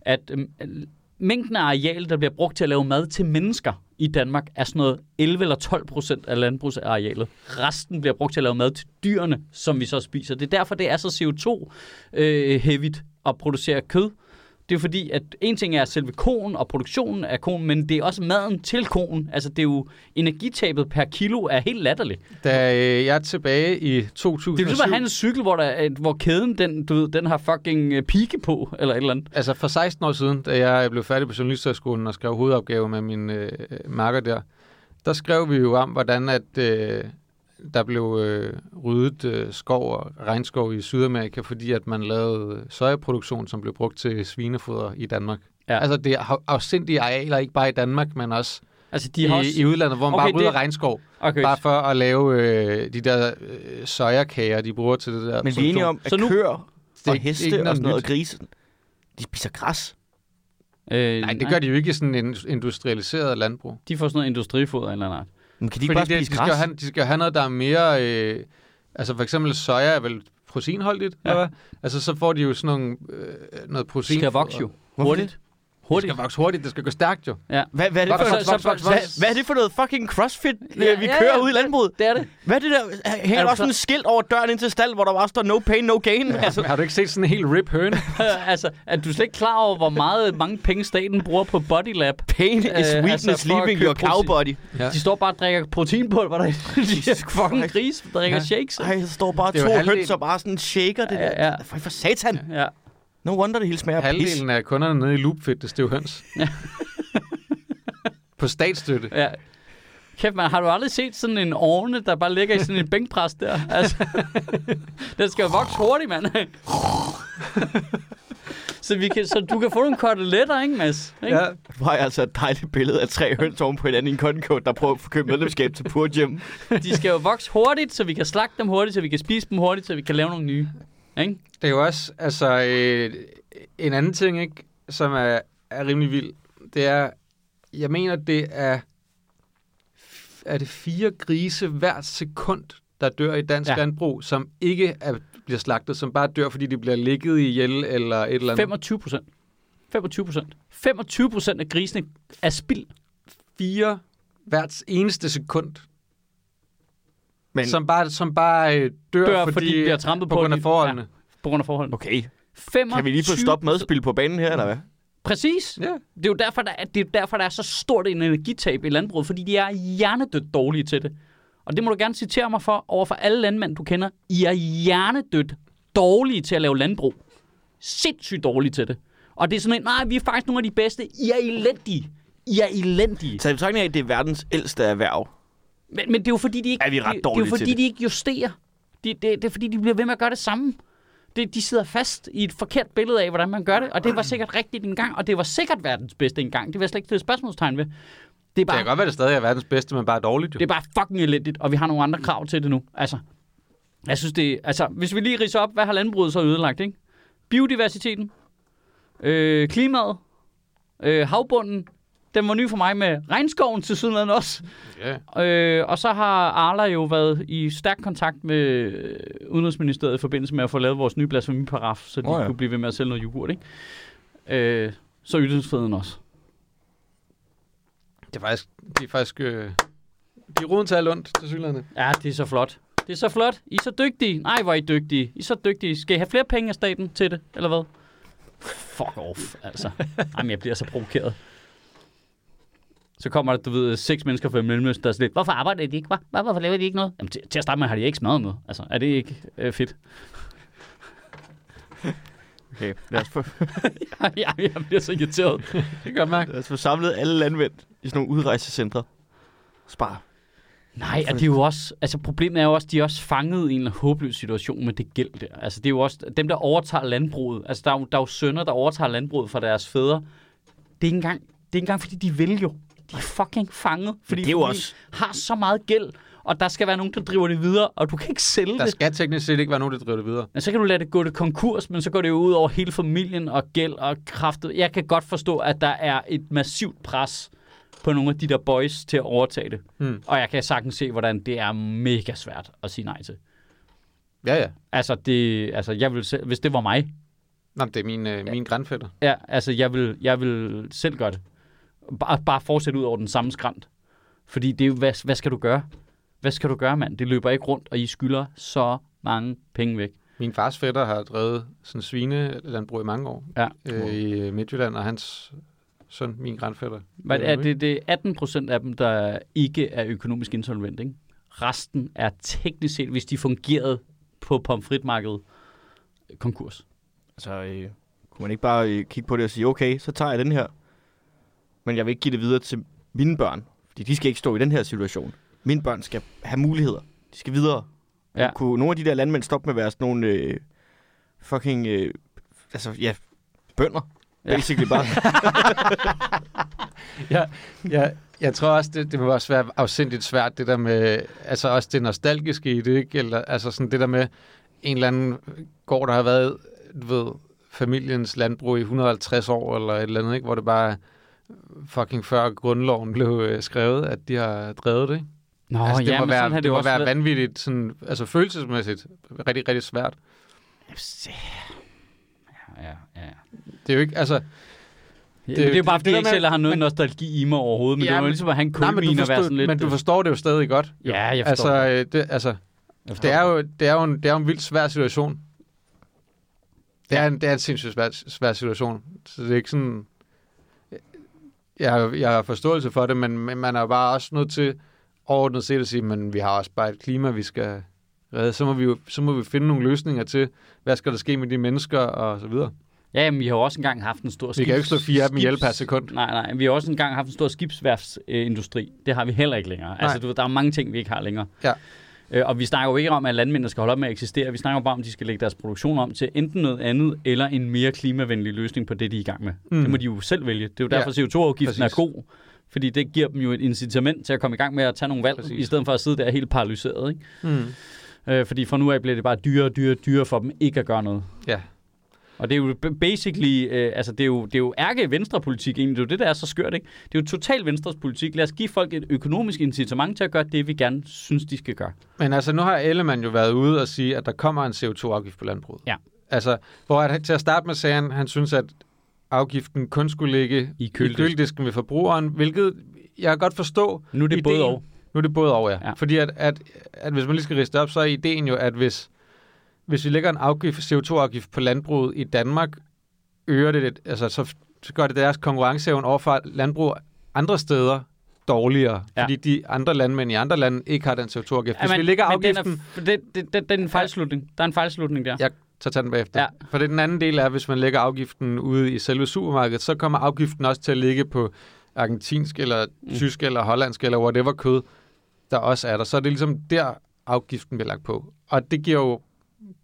Speaker 1: at øh, mængden af areal, der bliver brugt til at lave mad til mennesker i Danmark, er sådan noget 11 eller 12 procent af landbrugsarealet. Resten bliver brugt til at lave mad til dyrene, som vi så spiser. Det er derfor, det er så CO2-hævigt øh, at producere kød. Det er fordi, at en ting er selve konen og produktionen af konen, men det er også maden til konen. Altså, det er jo energitabet per kilo er helt latterligt.
Speaker 2: Da øh, jeg er tilbage i
Speaker 1: Det er
Speaker 2: 2007...
Speaker 1: jo ligesom at have en cykel, hvor, der, er- hvor kæden, den, du ved, den har fucking øh, pike på, eller et eller andet.
Speaker 2: Altså for 16 år siden, da jeg blev færdig på journalisthøjskolen og skrev hovedopgave med min øh, marker der, der skrev vi jo om, hvordan at, øh, der blev øh, ryddet øh, skov og regnskov i Sydamerika, fordi at man lavede sojaproduktion, som blev brugt til svinefoder i Danmark.
Speaker 1: Ja.
Speaker 2: Ja. Altså det er af- afsindige arealer, ikke bare i Danmark, men også,
Speaker 1: Altså, de
Speaker 2: i,
Speaker 1: har
Speaker 2: også... i
Speaker 1: også...
Speaker 2: udlandet, hvor man
Speaker 1: Okay,
Speaker 2: okay, bare rydder
Speaker 1: det-
Speaker 2: det... regnskov,
Speaker 1: Okay,
Speaker 2: bare for at lave øh, de der øh, sojakager, de bruger til det der
Speaker 3: Men vi er
Speaker 2: produktion.
Speaker 3: enige om, at
Speaker 1: Så nu-
Speaker 3: køer
Speaker 2: Det er
Speaker 3: og
Speaker 2: ikke- ikke
Speaker 3: heste
Speaker 2: noget
Speaker 3: og sådan noget, og
Speaker 2: nyt.
Speaker 3: grise, de spiser græs.
Speaker 1: øh,
Speaker 2: Nej, det gør de jo ikke i sådan en industrialiseret landbrug.
Speaker 1: De får sådan noget industrifoder eller noget.
Speaker 3: Men kan de ikke
Speaker 2: Fordi
Speaker 3: bare
Speaker 2: det,
Speaker 3: spise
Speaker 2: de, skal jo
Speaker 3: græs?
Speaker 2: have, de skal jo have noget, der er mere... Øh, altså for eksempel soja er vel proteinholdigt,
Speaker 1: Ja.
Speaker 2: ja. eller hvad? Altså så får de jo sådan nogle, øh, noget
Speaker 1: De
Speaker 2: protein.
Speaker 1: skal vokse jo. Hurtigt.
Speaker 2: Hurtigt.
Speaker 1: Hurtigt.
Speaker 2: Det skal vokse hurtigt, det skal gå stærkt jo.
Speaker 1: Ja.
Speaker 3: Hvad, hvad, er det
Speaker 2: Voks,
Speaker 3: for,
Speaker 1: så- så-
Speaker 2: voks, voks,
Speaker 1: hvad-
Speaker 2: voks.
Speaker 3: hvad er det for noget fucking crossfit,
Speaker 1: Ja,
Speaker 3: ja, vi
Speaker 1: ja,
Speaker 3: kører
Speaker 1: ja.
Speaker 3: ud i landbruget?
Speaker 1: Det er det.
Speaker 3: Hvad er det der? Hænger
Speaker 1: Er
Speaker 3: der
Speaker 1: du
Speaker 3: også sådan en skilt over døren ind til stald, hvor der bare står no pain, no gain? Ja. Altså,
Speaker 2: Altså, har du ikke set sådan en helt rip høne?
Speaker 1: altså, er du slet ikke klar over, hvor meget mange penge staten bruger på Bodylab?
Speaker 3: pain is
Speaker 1: Øh, altså,
Speaker 3: weakness
Speaker 1: for at
Speaker 3: leaving
Speaker 1: købe
Speaker 3: your
Speaker 1: protein.
Speaker 3: cowbody.
Speaker 2: Ja.
Speaker 1: De står bare og drikker proteinpulver derinde. De er fucking
Speaker 3: Christ.
Speaker 1: gris, der drikker
Speaker 2: Ja.
Speaker 1: shakes.
Speaker 3: Ej, der står bare
Speaker 2: Det er jo
Speaker 3: to
Speaker 2: halvdelen.
Speaker 3: høns og bare sådan shaker det
Speaker 1: Ja,
Speaker 3: der.
Speaker 1: ja.
Speaker 3: For, for satan.
Speaker 1: Ja.
Speaker 3: No wonder det hele smager af pis.
Speaker 2: Halvdelen af kunderne nede i Loopfit, det er jo høns. På statsstøtte.
Speaker 1: Ja. Kæft, man, har du aldrig set sådan en ovne, der bare ligger i sådan en bænkpres der? Altså, den skal jo vokse hurtigt, mand. så, vi kan, så du kan få nogle koteletter, ikke, Mads? Ikke?
Speaker 2: Ja.
Speaker 3: Det var altså et dejligt billede af tre høns oven på hinanden i en konkord, der prøver at få købt medlemskab til Pure Gym.
Speaker 1: De skal jo vokse hurtigt, så vi kan slagte dem hurtigt, så vi kan spise dem hurtigt, så vi kan lave nogle nye. Ikke?
Speaker 2: Det er jo også, altså, øh, en anden ting, ikke, som er, er rimelig vild, det er, jeg mener, det er, er det fire grise hver sekund, der dør i dansk
Speaker 1: Ja.
Speaker 2: ja. landbrug, som ikke er, bliver slagtet, som bare dør, fordi de bliver ligget ihjel eller et eller andet.
Speaker 1: 25 procent. 25 procent. 25 procent af grisene er spild.
Speaker 2: Fire hvert eneste sekund,
Speaker 3: Men
Speaker 2: som bare, som bare øh, dør,
Speaker 1: Dør, fordi
Speaker 2: fordi,
Speaker 1: de bliver trampet
Speaker 2: på
Speaker 1: på
Speaker 2: grund
Speaker 1: de-
Speaker 2: af forholdene.
Speaker 1: På grund af forholdene.
Speaker 3: okay,
Speaker 1: 25...
Speaker 3: kan vi lige få stoppet madspil på banen her, eller hvad?
Speaker 1: Præcis.
Speaker 2: Ja.
Speaker 1: Det er jo derfor, der er, det er jo derfor, der er så stort en energitab i landbruget, fordi de er hjernedødt dårlige til det. Og det må du gerne citere mig for over for alle landmænd, du kender. I er hjernedødt dårlige til at lave landbrug. Sindssygt dårlige til det. Og det er sådan en, nej, vi er faktisk nogle af de bedste. I er elendige. I er elendige.
Speaker 3: Så i betragtning af, at det er verdens ældste erhverv.
Speaker 1: Men, men det er jo fordi, de ikke,
Speaker 3: Er vi ret
Speaker 1: det, det er jo
Speaker 3: dårlige
Speaker 1: fordi,
Speaker 3: til det?
Speaker 1: de ikke justerer. Det, det, det er fordi, de bliver ved med at gøre det samme. Det, de sidder fast i et forkert billede af, hvordan man gør det. Og det var sikkert rigtigt engang, og det var sikkert verdens bedste engang. Det vil jeg slet ikke stille spørgsmålstegn ved. Det er
Speaker 2: Det
Speaker 1: bare,
Speaker 2: kan godt være, det stadig er verdens bedste, men bare dårligt. Jo.
Speaker 1: det er bare fucking elendigt, og vi har nogle andre krav til det nu. Altså, jeg synes det altså, hvis vi lige riser op, hvad har landbruget så ødelagt, ikke? Biodiversiteten, øh, klimaet, øh, havbunden, den var ny for mig med regnskoven til siden også.
Speaker 2: Ja.
Speaker 1: Øh, og så har Arla jo været i stærk kontakt med øh, Udenrigsministeriet i forbindelse med at få lavet vores nye blasfemiparagraf, så de
Speaker 3: Nå
Speaker 1: oh,
Speaker 3: ja.
Speaker 1: ja. kunne blive ved med at sælge noget yoghurt, ikke? Øh, så ytringsfriheden også.
Speaker 2: Det er faktisk, de er faktisk, øh, de er roden til alt ondt, til synligheden.
Speaker 1: Ja, det er så flot. Det er så flot. I er så dygtige. Nej, hvor er I dygtige. I er så dygtige. Skal I have flere penge af staten til det, eller hvad? Fuck off, altså. Jamen, jeg bliver så provokeret. Så kommer der, du ved, seks mennesker fra Mellemøsten, der er sådan lidt, hvorfor arbejder de ikke? Hva? Hva? Hvorfor laver de ikke noget? Jamen, til, til at starte med har de ikke smadret noget. Altså, er det ikke øh, fedt?
Speaker 3: Okay, lad os, få,
Speaker 1: ja, jeg bliver så irriteret.
Speaker 2: Det kan jeg godt mærke.
Speaker 3: lad os få samlet alle landmænd i sådan nogle udrejsecentre. Spar.
Speaker 1: Nej, og det er jo også, altså problemet er jo også, at de er også fanget i en håbløs situation med det gæld der. Altså det er jo også dem, der overtager landbruget. Altså der er jo, der er jo sønner, der overtager landbruget fra deres fædre. Det er ikke engang, det er ikke engang fordi de vil jo. De er fucking fanget, fordi
Speaker 3: det er jo
Speaker 1: familien
Speaker 3: også-
Speaker 1: har så meget gæld, og der skal være nogen, der driver det videre, og du kan ikke sælge
Speaker 2: Der
Speaker 1: det.
Speaker 2: skal teknisk set ikke være nogen, der driver det videre.
Speaker 1: Men så kan du lade det gå til konkurs, men så går det jo ud over hele familien og gæld og kraftet. Jeg kan godt forstå, at der er et massivt pres på nogle af de der boys til at overtage det.
Speaker 2: Mm.
Speaker 1: Og jeg kan sagtens se, hvordan det er mega svært at sige nej til.
Speaker 2: Ja, ja.
Speaker 1: Altså, det, altså jeg vil selv, hvis det var mig,
Speaker 2: Nå, men det er min, øh, min grandfætter.
Speaker 1: ja, altså, jeg, vil, jeg vil selv gøre det. Bare, bare fortsætte ud over den samme skrant. Fordi det er jo, hvad, hvad skal du gøre? Hvad skal du gøre, mand? Det løber ikke rundt, og I skylder så mange penge væk.
Speaker 2: Min fars fætter har drevet sådan en svinelandbrug i mange år
Speaker 1: Ja.
Speaker 2: øh, i Midtjylland, og hans søn, min grandfætter.
Speaker 1: Hvad
Speaker 2: øh,
Speaker 1: er det, det er 18 procent af dem, der ikke er økonomisk insolvent, ikke? Resten er teknisk set, hvis de fungerede på pomfritmarkedet, konkurs.
Speaker 3: Altså, øh, kunne man ikke bare øh, kigge på det og sige, okay, så tager jeg den her, men jeg vil ikke give det videre til mine børn, fordi de skal ikke stå i den her situation. Mine børn skal have muligheder. De skal videre.
Speaker 1: Ja.
Speaker 3: Kunne nogle af de der landmænd stoppe med at være sådan nogle øh, fucking, øh, altså ja, bønder.
Speaker 1: Ja.
Speaker 2: Altså,
Speaker 3: Basically bare.
Speaker 2: Ja, jeg tror også, det, det må også være afsindigt svært, det der med, altså også det nostalgiske i det, ikke? Eller, altså sådan det der med, en eller anden gård, der har været, du ved, familiens landbrug i 150 år, eller et eller andet, ikke? Hvor det bare er fucking før grundloven blev øh, skrevet, at de har drevet det, ikke?
Speaker 1: Nå,
Speaker 2: altså, det
Speaker 1: ja,
Speaker 2: må
Speaker 1: men
Speaker 2: være,
Speaker 1: sådan har
Speaker 2: det må
Speaker 1: også
Speaker 2: være
Speaker 1: været.
Speaker 2: vanvittigt, sådan, altså følelsesmæssigt, rigtig, rigtig svært.
Speaker 1: Ja, ja, ja.
Speaker 2: Det er jo ikke, altså,
Speaker 1: Det, det, er jo bare, fordi jeg
Speaker 2: det der
Speaker 1: ikke
Speaker 2: med-
Speaker 1: selv har noget
Speaker 2: men-
Speaker 1: nostalgi i mig overhovedet, men
Speaker 2: Ja,
Speaker 1: det var jo
Speaker 2: men-
Speaker 1: ligesom at han
Speaker 2: nej, men, du
Speaker 1: kulmine og være sådan
Speaker 2: forstår,
Speaker 1: lidt... øh,
Speaker 2: men du forstår det jo stadig godt.
Speaker 1: Ja, jeg forstår
Speaker 2: Altså,
Speaker 1: det.
Speaker 2: øh, det, altså,
Speaker 1: Jeg forstår
Speaker 2: Det er jo, det er jo, en, det er jo en vildt svær situation. Det er en, det er en sindssygt svær, svær situation. Så det er ikke sådan... Jeg, har- jeg har forståelse for det, men, men man er jo bare også nødt til overordnet set at sige, men vi har også bare et klima, vi skal redde. Så må vi, jo, så må vi finde nogle løsninger til, hvad skal der ske med de mennesker og så videre.
Speaker 1: Ja, men vi har jo også engang haft en stor
Speaker 2: Vi kan jo ikke slå fire af dem ihjel per sekund.
Speaker 1: Nej, nej. Vi har også engang haft en stor skibsværfsindustri. Det har vi heller ikke længere. Altså, du ved, der er mange ting, vi ikke har længere.
Speaker 2: Ja.
Speaker 1: Øh, og vi snakker jo ikke om, at landmændene skal holde op med at eksistere. Vi snakker bare om, at de skal lægge deres produktion om til enten noget andet, eller en mere klimavenlig løsning på det, de er i gang med. Mm. Det må de jo selv vælge. Det er jo
Speaker 2: Ja,
Speaker 1: derfor, CO2-afgiften er
Speaker 2: præcis.
Speaker 1: god. Fordi det giver dem jo et incitament til at komme i gang med at tage nogle valg,
Speaker 2: Præcis.
Speaker 1: i stedet for at sidde der helt paralyseret. Ikke?
Speaker 2: Mm.
Speaker 1: Øh, fordi fra nu af bliver det bare dyrere og dyrere og dyrere for dem ikke at gøre noget.
Speaker 2: Ja.
Speaker 1: Og det er jo b- basically, øh, altså det er jo, det er jo ærke venstrepolitik egentlig, det er jo det, der er så skørt, ikke? Det er jo total venstres politik. Lad os give folk et økonomisk incitament til at gøre det, vi gerne synes, de skal gøre.
Speaker 2: Men altså, nu har Ellemann jo været ude og sige, at der kommer en CO2-afgift på landbruget.
Speaker 1: Ja.
Speaker 2: Altså, hvor at, til at starte med sagde han, han synes, at afgiften kun skulle ligge
Speaker 1: I
Speaker 2: køledisken. i
Speaker 1: køledisken.
Speaker 2: køledisken ved forbrugeren, hvilket jeg kan godt forstå.
Speaker 1: Nu er det
Speaker 2: ideen-
Speaker 1: både og.
Speaker 2: Nu er det både over, ja.
Speaker 1: Ja.
Speaker 2: ja. Fordi at, at, at hvis man lige skal riste op, så er ideen jo, at hvis, hvis vi lægger en afgift, CO2-afgift på landbruget i Danmark, øger det, lidt- altså, så, så gør det deres konkurrenceevne over for landbrug andre steder dårligere,
Speaker 1: Ja.
Speaker 2: ja. fordi de andre landmænd i andre lande ikke har den CO2-afgift. Hvis
Speaker 1: Ja, men-
Speaker 2: vi lægger
Speaker 1: men den
Speaker 2: afgiften...
Speaker 1: er, f- det, det, det, det er en fejlslutning. Der er en fejlslutning der.
Speaker 2: Jeg tager tage den bagefter.
Speaker 1: Ja.
Speaker 2: Ja. For det den anden del er, hvis man lægger afgiften ude i selve supermarkedet, så kommer afgiften også til at ligge på argentinsk, eller
Speaker 1: Mm.
Speaker 2: tysk, eller hollandsk, eller whatever kød, der også er der. Så er det ligesom der, afgiften bliver lagt på. Og det giver jo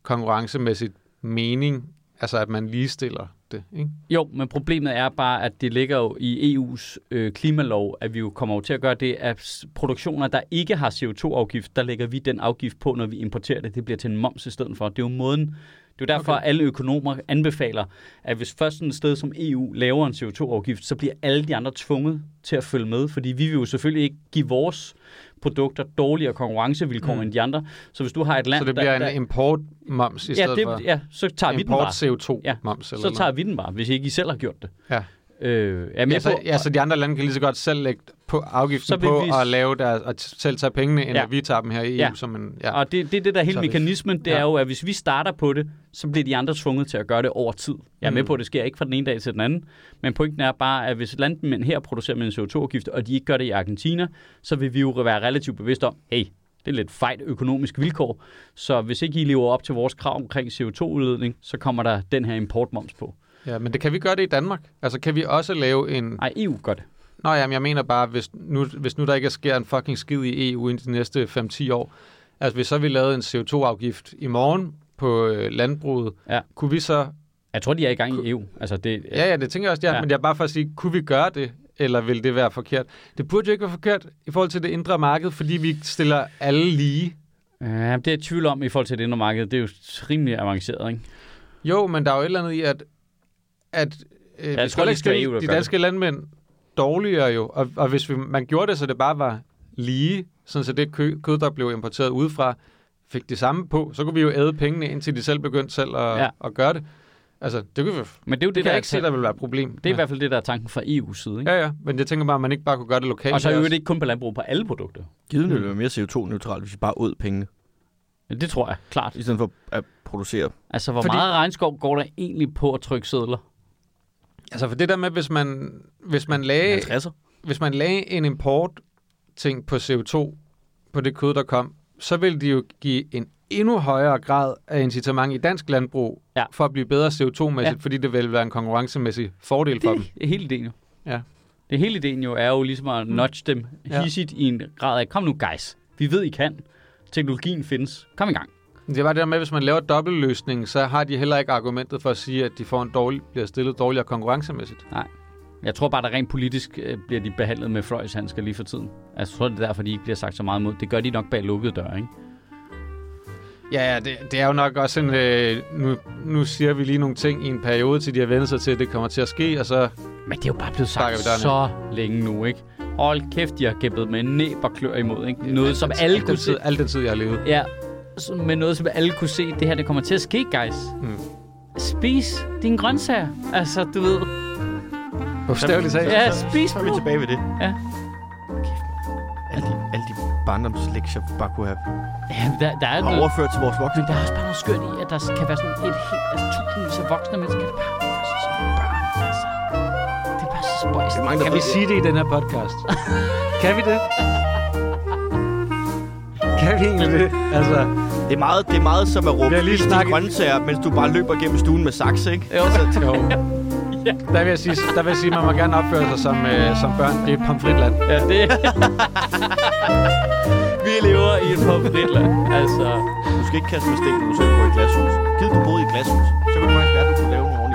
Speaker 2: konkurrencemæssigt mening, altså at man ligestiller det. Ikke?
Speaker 1: Jo, men problemet er bare, at det ligger jo i EU's øh, klimalov, at vi jo kommer jo til at gøre det, at s- produktioner, der ikke har CO2-afgift, der lægger vi den afgift på, når vi importerer det. Det bliver til en moms i stedet for. Det er jo måden. Det er jo derfor, okay. alle økonomer anbefaler, at hvis først sådan et sted som EU laver en CO2-afgift, så bliver alle de andre tvunget til at følge med, fordi vi vil jo selvfølgelig ikke give vores produkter dårligere konkurrencevilkår mm. end de andre. Så hvis du har et land,
Speaker 2: Så det
Speaker 1: der,
Speaker 2: bliver
Speaker 1: der,
Speaker 2: en importmoms i
Speaker 1: ja,
Speaker 2: stedet
Speaker 1: det,
Speaker 2: for
Speaker 1: ja, så tager vi den bare. Ja,
Speaker 2: import-CO2-moms.
Speaker 1: Så tager vi den bare, hvis ikke I selv har gjort det.
Speaker 2: Ja.
Speaker 1: Øh, jeg er med
Speaker 2: Ja, så,
Speaker 1: på,
Speaker 2: ja, så de andre lande kan lige så godt selv lægge på
Speaker 1: Så
Speaker 2: afgiften
Speaker 1: vil
Speaker 2: på
Speaker 1: vi-
Speaker 2: og lave der, og t- selv tage pengene, end
Speaker 1: Ja.
Speaker 2: ja. at vi tager dem her i EU.
Speaker 1: Ja.
Speaker 2: Ja. Som en, ja.
Speaker 1: Og det, det er det, der er hele
Speaker 2: Så er det-
Speaker 1: mekanismen, det er
Speaker 2: ja.
Speaker 1: jo, at hvis vi starter på det, så bliver de andre tvunget til at gøre det over tid. Jeg er med
Speaker 2: Mm.
Speaker 1: på, at det sker ikke fra den ene dag til den anden, men pointen er bare, at hvis landmænd her producerer med en CO2-afgift, og de ikke gør det i Argentina, så vil vi jo være relativt bevidste om, hey, det er lidt fejl økonomisk vilkår, så hvis ikke I lever op til vores krav omkring CO2-udledning, så kommer der den her importmoms på.
Speaker 2: ja, men det kan vi gøre det i Danmark. Altså kan vi også lave en...
Speaker 1: Nej, EU E gør det.
Speaker 2: Nå jamen, jeg mener bare, hvis nu, hvis nu der ikke sker en fucking skid i EU i de næste 5-10 år, altså hvis så vi lavede en CO2-afgift i morgen på øh, landbruget,
Speaker 1: Ja.
Speaker 2: kunne vi så...
Speaker 1: Jeg tror, de er i gang i EU. Altså, det,
Speaker 2: Ja, ja, det tænker jeg også, ja,
Speaker 1: Ja.
Speaker 2: ja. men jeg er bare for at sige, kunne vi gøre det, eller vil det være forkert? Det burde jo ikke være forkert i forhold til det indre marked, fordi vi stiller alle lige.
Speaker 1: ja, det er jeg i tvivl om i forhold til det indre marked. Det er jo rimelig avanceret, ikke?
Speaker 2: Jo, men der er jo et eller andet i, at, at øh,
Speaker 1: tror,
Speaker 2: vi skal heller
Speaker 1: det skal
Speaker 2: ikke stille
Speaker 1: EU, der
Speaker 2: de
Speaker 1: gør
Speaker 2: danske det. landmænd dårligere jo. Og, og hvis vi, man gjorde det, så det bare var lige, sådan så det kø, kød, der blev importeret udefra, fik det samme på, så kunne vi jo æde pengene, indtil de selv begyndte selv at,
Speaker 1: Ja.
Speaker 2: ja. at gøre det. Altså, det, kunne vi, det,
Speaker 1: Men det er jo det,
Speaker 2: det kan
Speaker 1: der
Speaker 2: jeg
Speaker 1: er
Speaker 2: ikke se, der vil være et problem.
Speaker 1: Det er i hvert fald det, der er tanken fra EU's side, ikke?
Speaker 2: Ja, ja, men jeg tænker bare, at man ikke bare kunne gøre det lokalt. Altså,
Speaker 1: Og så er
Speaker 2: her
Speaker 1: jo
Speaker 2: også.
Speaker 1: det ikke kun på landbrug, på alle produkter.
Speaker 3: Givet ville være mere CO2-neutralt, hvis vi bare ud pengene,
Speaker 1: Ja, Det tror jeg, klart.
Speaker 3: i stedet for at producere.
Speaker 1: Altså, hvor Fordi...
Speaker 2: Fordi-
Speaker 1: meget regnskov går der egentlig på at trykke sædler?
Speaker 2: Altså, for det der med, hvis man, hvis man lagde
Speaker 3: 50'er.
Speaker 2: hvis man lagde en import ting på CO2 på det kød, der kom, så ville de jo give en endnu højere grad af incitament i dansk landbrug
Speaker 1: Ja.
Speaker 2: for at blive bedre CO2-mæssigt,
Speaker 1: Ja.
Speaker 2: ja. fordi det ville være en konkurrencemæssig fordel for dem.
Speaker 1: Det er hele ideen jo.
Speaker 2: Ja. Mm.
Speaker 1: Det hele ideen jo er jo ligesom at nudge dem
Speaker 2: Ja.
Speaker 1: hissigt i en grad af, kom nu guys, vi ved I kan. Teknologien findes. Kom i gang.
Speaker 2: Det er bare det der med, at hvis man laver dobbeltløsning, så har de heller ikke argumentet for at sige, at de får en dårlig, bliver stillet dårligere konkurrencemæssigt.
Speaker 1: Jeg tror bare, at rent politisk øh, bliver de behandlet med fløjshandsker lige for tiden. Altså, jeg tror, det er derfor, de ikke bliver sagt så meget imod. Det gør de nok bag lukkede døre, ikke?
Speaker 2: Ja, ja, det, det er jo nok også en... Øh, nu, nu siger vi lige nogle ting i en periode, til de har vendt sig til, at det kommer til at ske, og så...
Speaker 1: Men det er jo bare blevet sagt
Speaker 2: Snakker vi døren
Speaker 1: så længe nu, ikke? Hold kæft, de har kæmpet med næb og klør imod, ikke? Noget, som alle kunne
Speaker 2: den
Speaker 1: se.
Speaker 2: tid, al den tid, jeg har levet.
Speaker 1: Ja, så- med noget, som alle kunne se. Det her, det kommer til at ske, guys.
Speaker 2: Mm.
Speaker 1: Spis dine grøntsager. Altså, du ved.
Speaker 2: Bogstaveligt talt.
Speaker 1: Ja,
Speaker 3: Så-
Speaker 1: spis
Speaker 3: Så er vi
Speaker 1: nu.
Speaker 3: tilbage ved det.
Speaker 1: Ja.
Speaker 3: Alle de, alle de barndomslektier, vi bare kunne have
Speaker 1: Ja, der, der er
Speaker 3: har
Speaker 1: noget.
Speaker 3: overført til vores voksne.
Speaker 1: Men der er også bare noget skønt i, at der kan være sådan et helt... Altså, tusindvis af voksne mennesker, der bare opfører sig som børn, altså. Det er bare så spøjst.
Speaker 3: Der er mange, der
Speaker 2: Kan vi sige det i den her podcast? kan vi det? Kan vi egentlig det? Altså,
Speaker 3: Det er meget, det er meget som at råbe
Speaker 2: Vi har lige
Speaker 3: "Spis dine
Speaker 2: snakket-
Speaker 3: grøntsager, mens du bare løber gennem stuen med saks, ikke?
Speaker 1: Jo.
Speaker 2: jo. Der vil jeg sige, der vil jeg sige man må gerne opføre sig som, øh, som børn. Det er pomfritland.
Speaker 1: Ja, det... vi lever i et pomfritland, altså.
Speaker 3: Du skal ikke kaste med sten, du skal gå i et glashus. Givet du boede i et glashus, så kunne du faktisk være, at du kunne lave nogle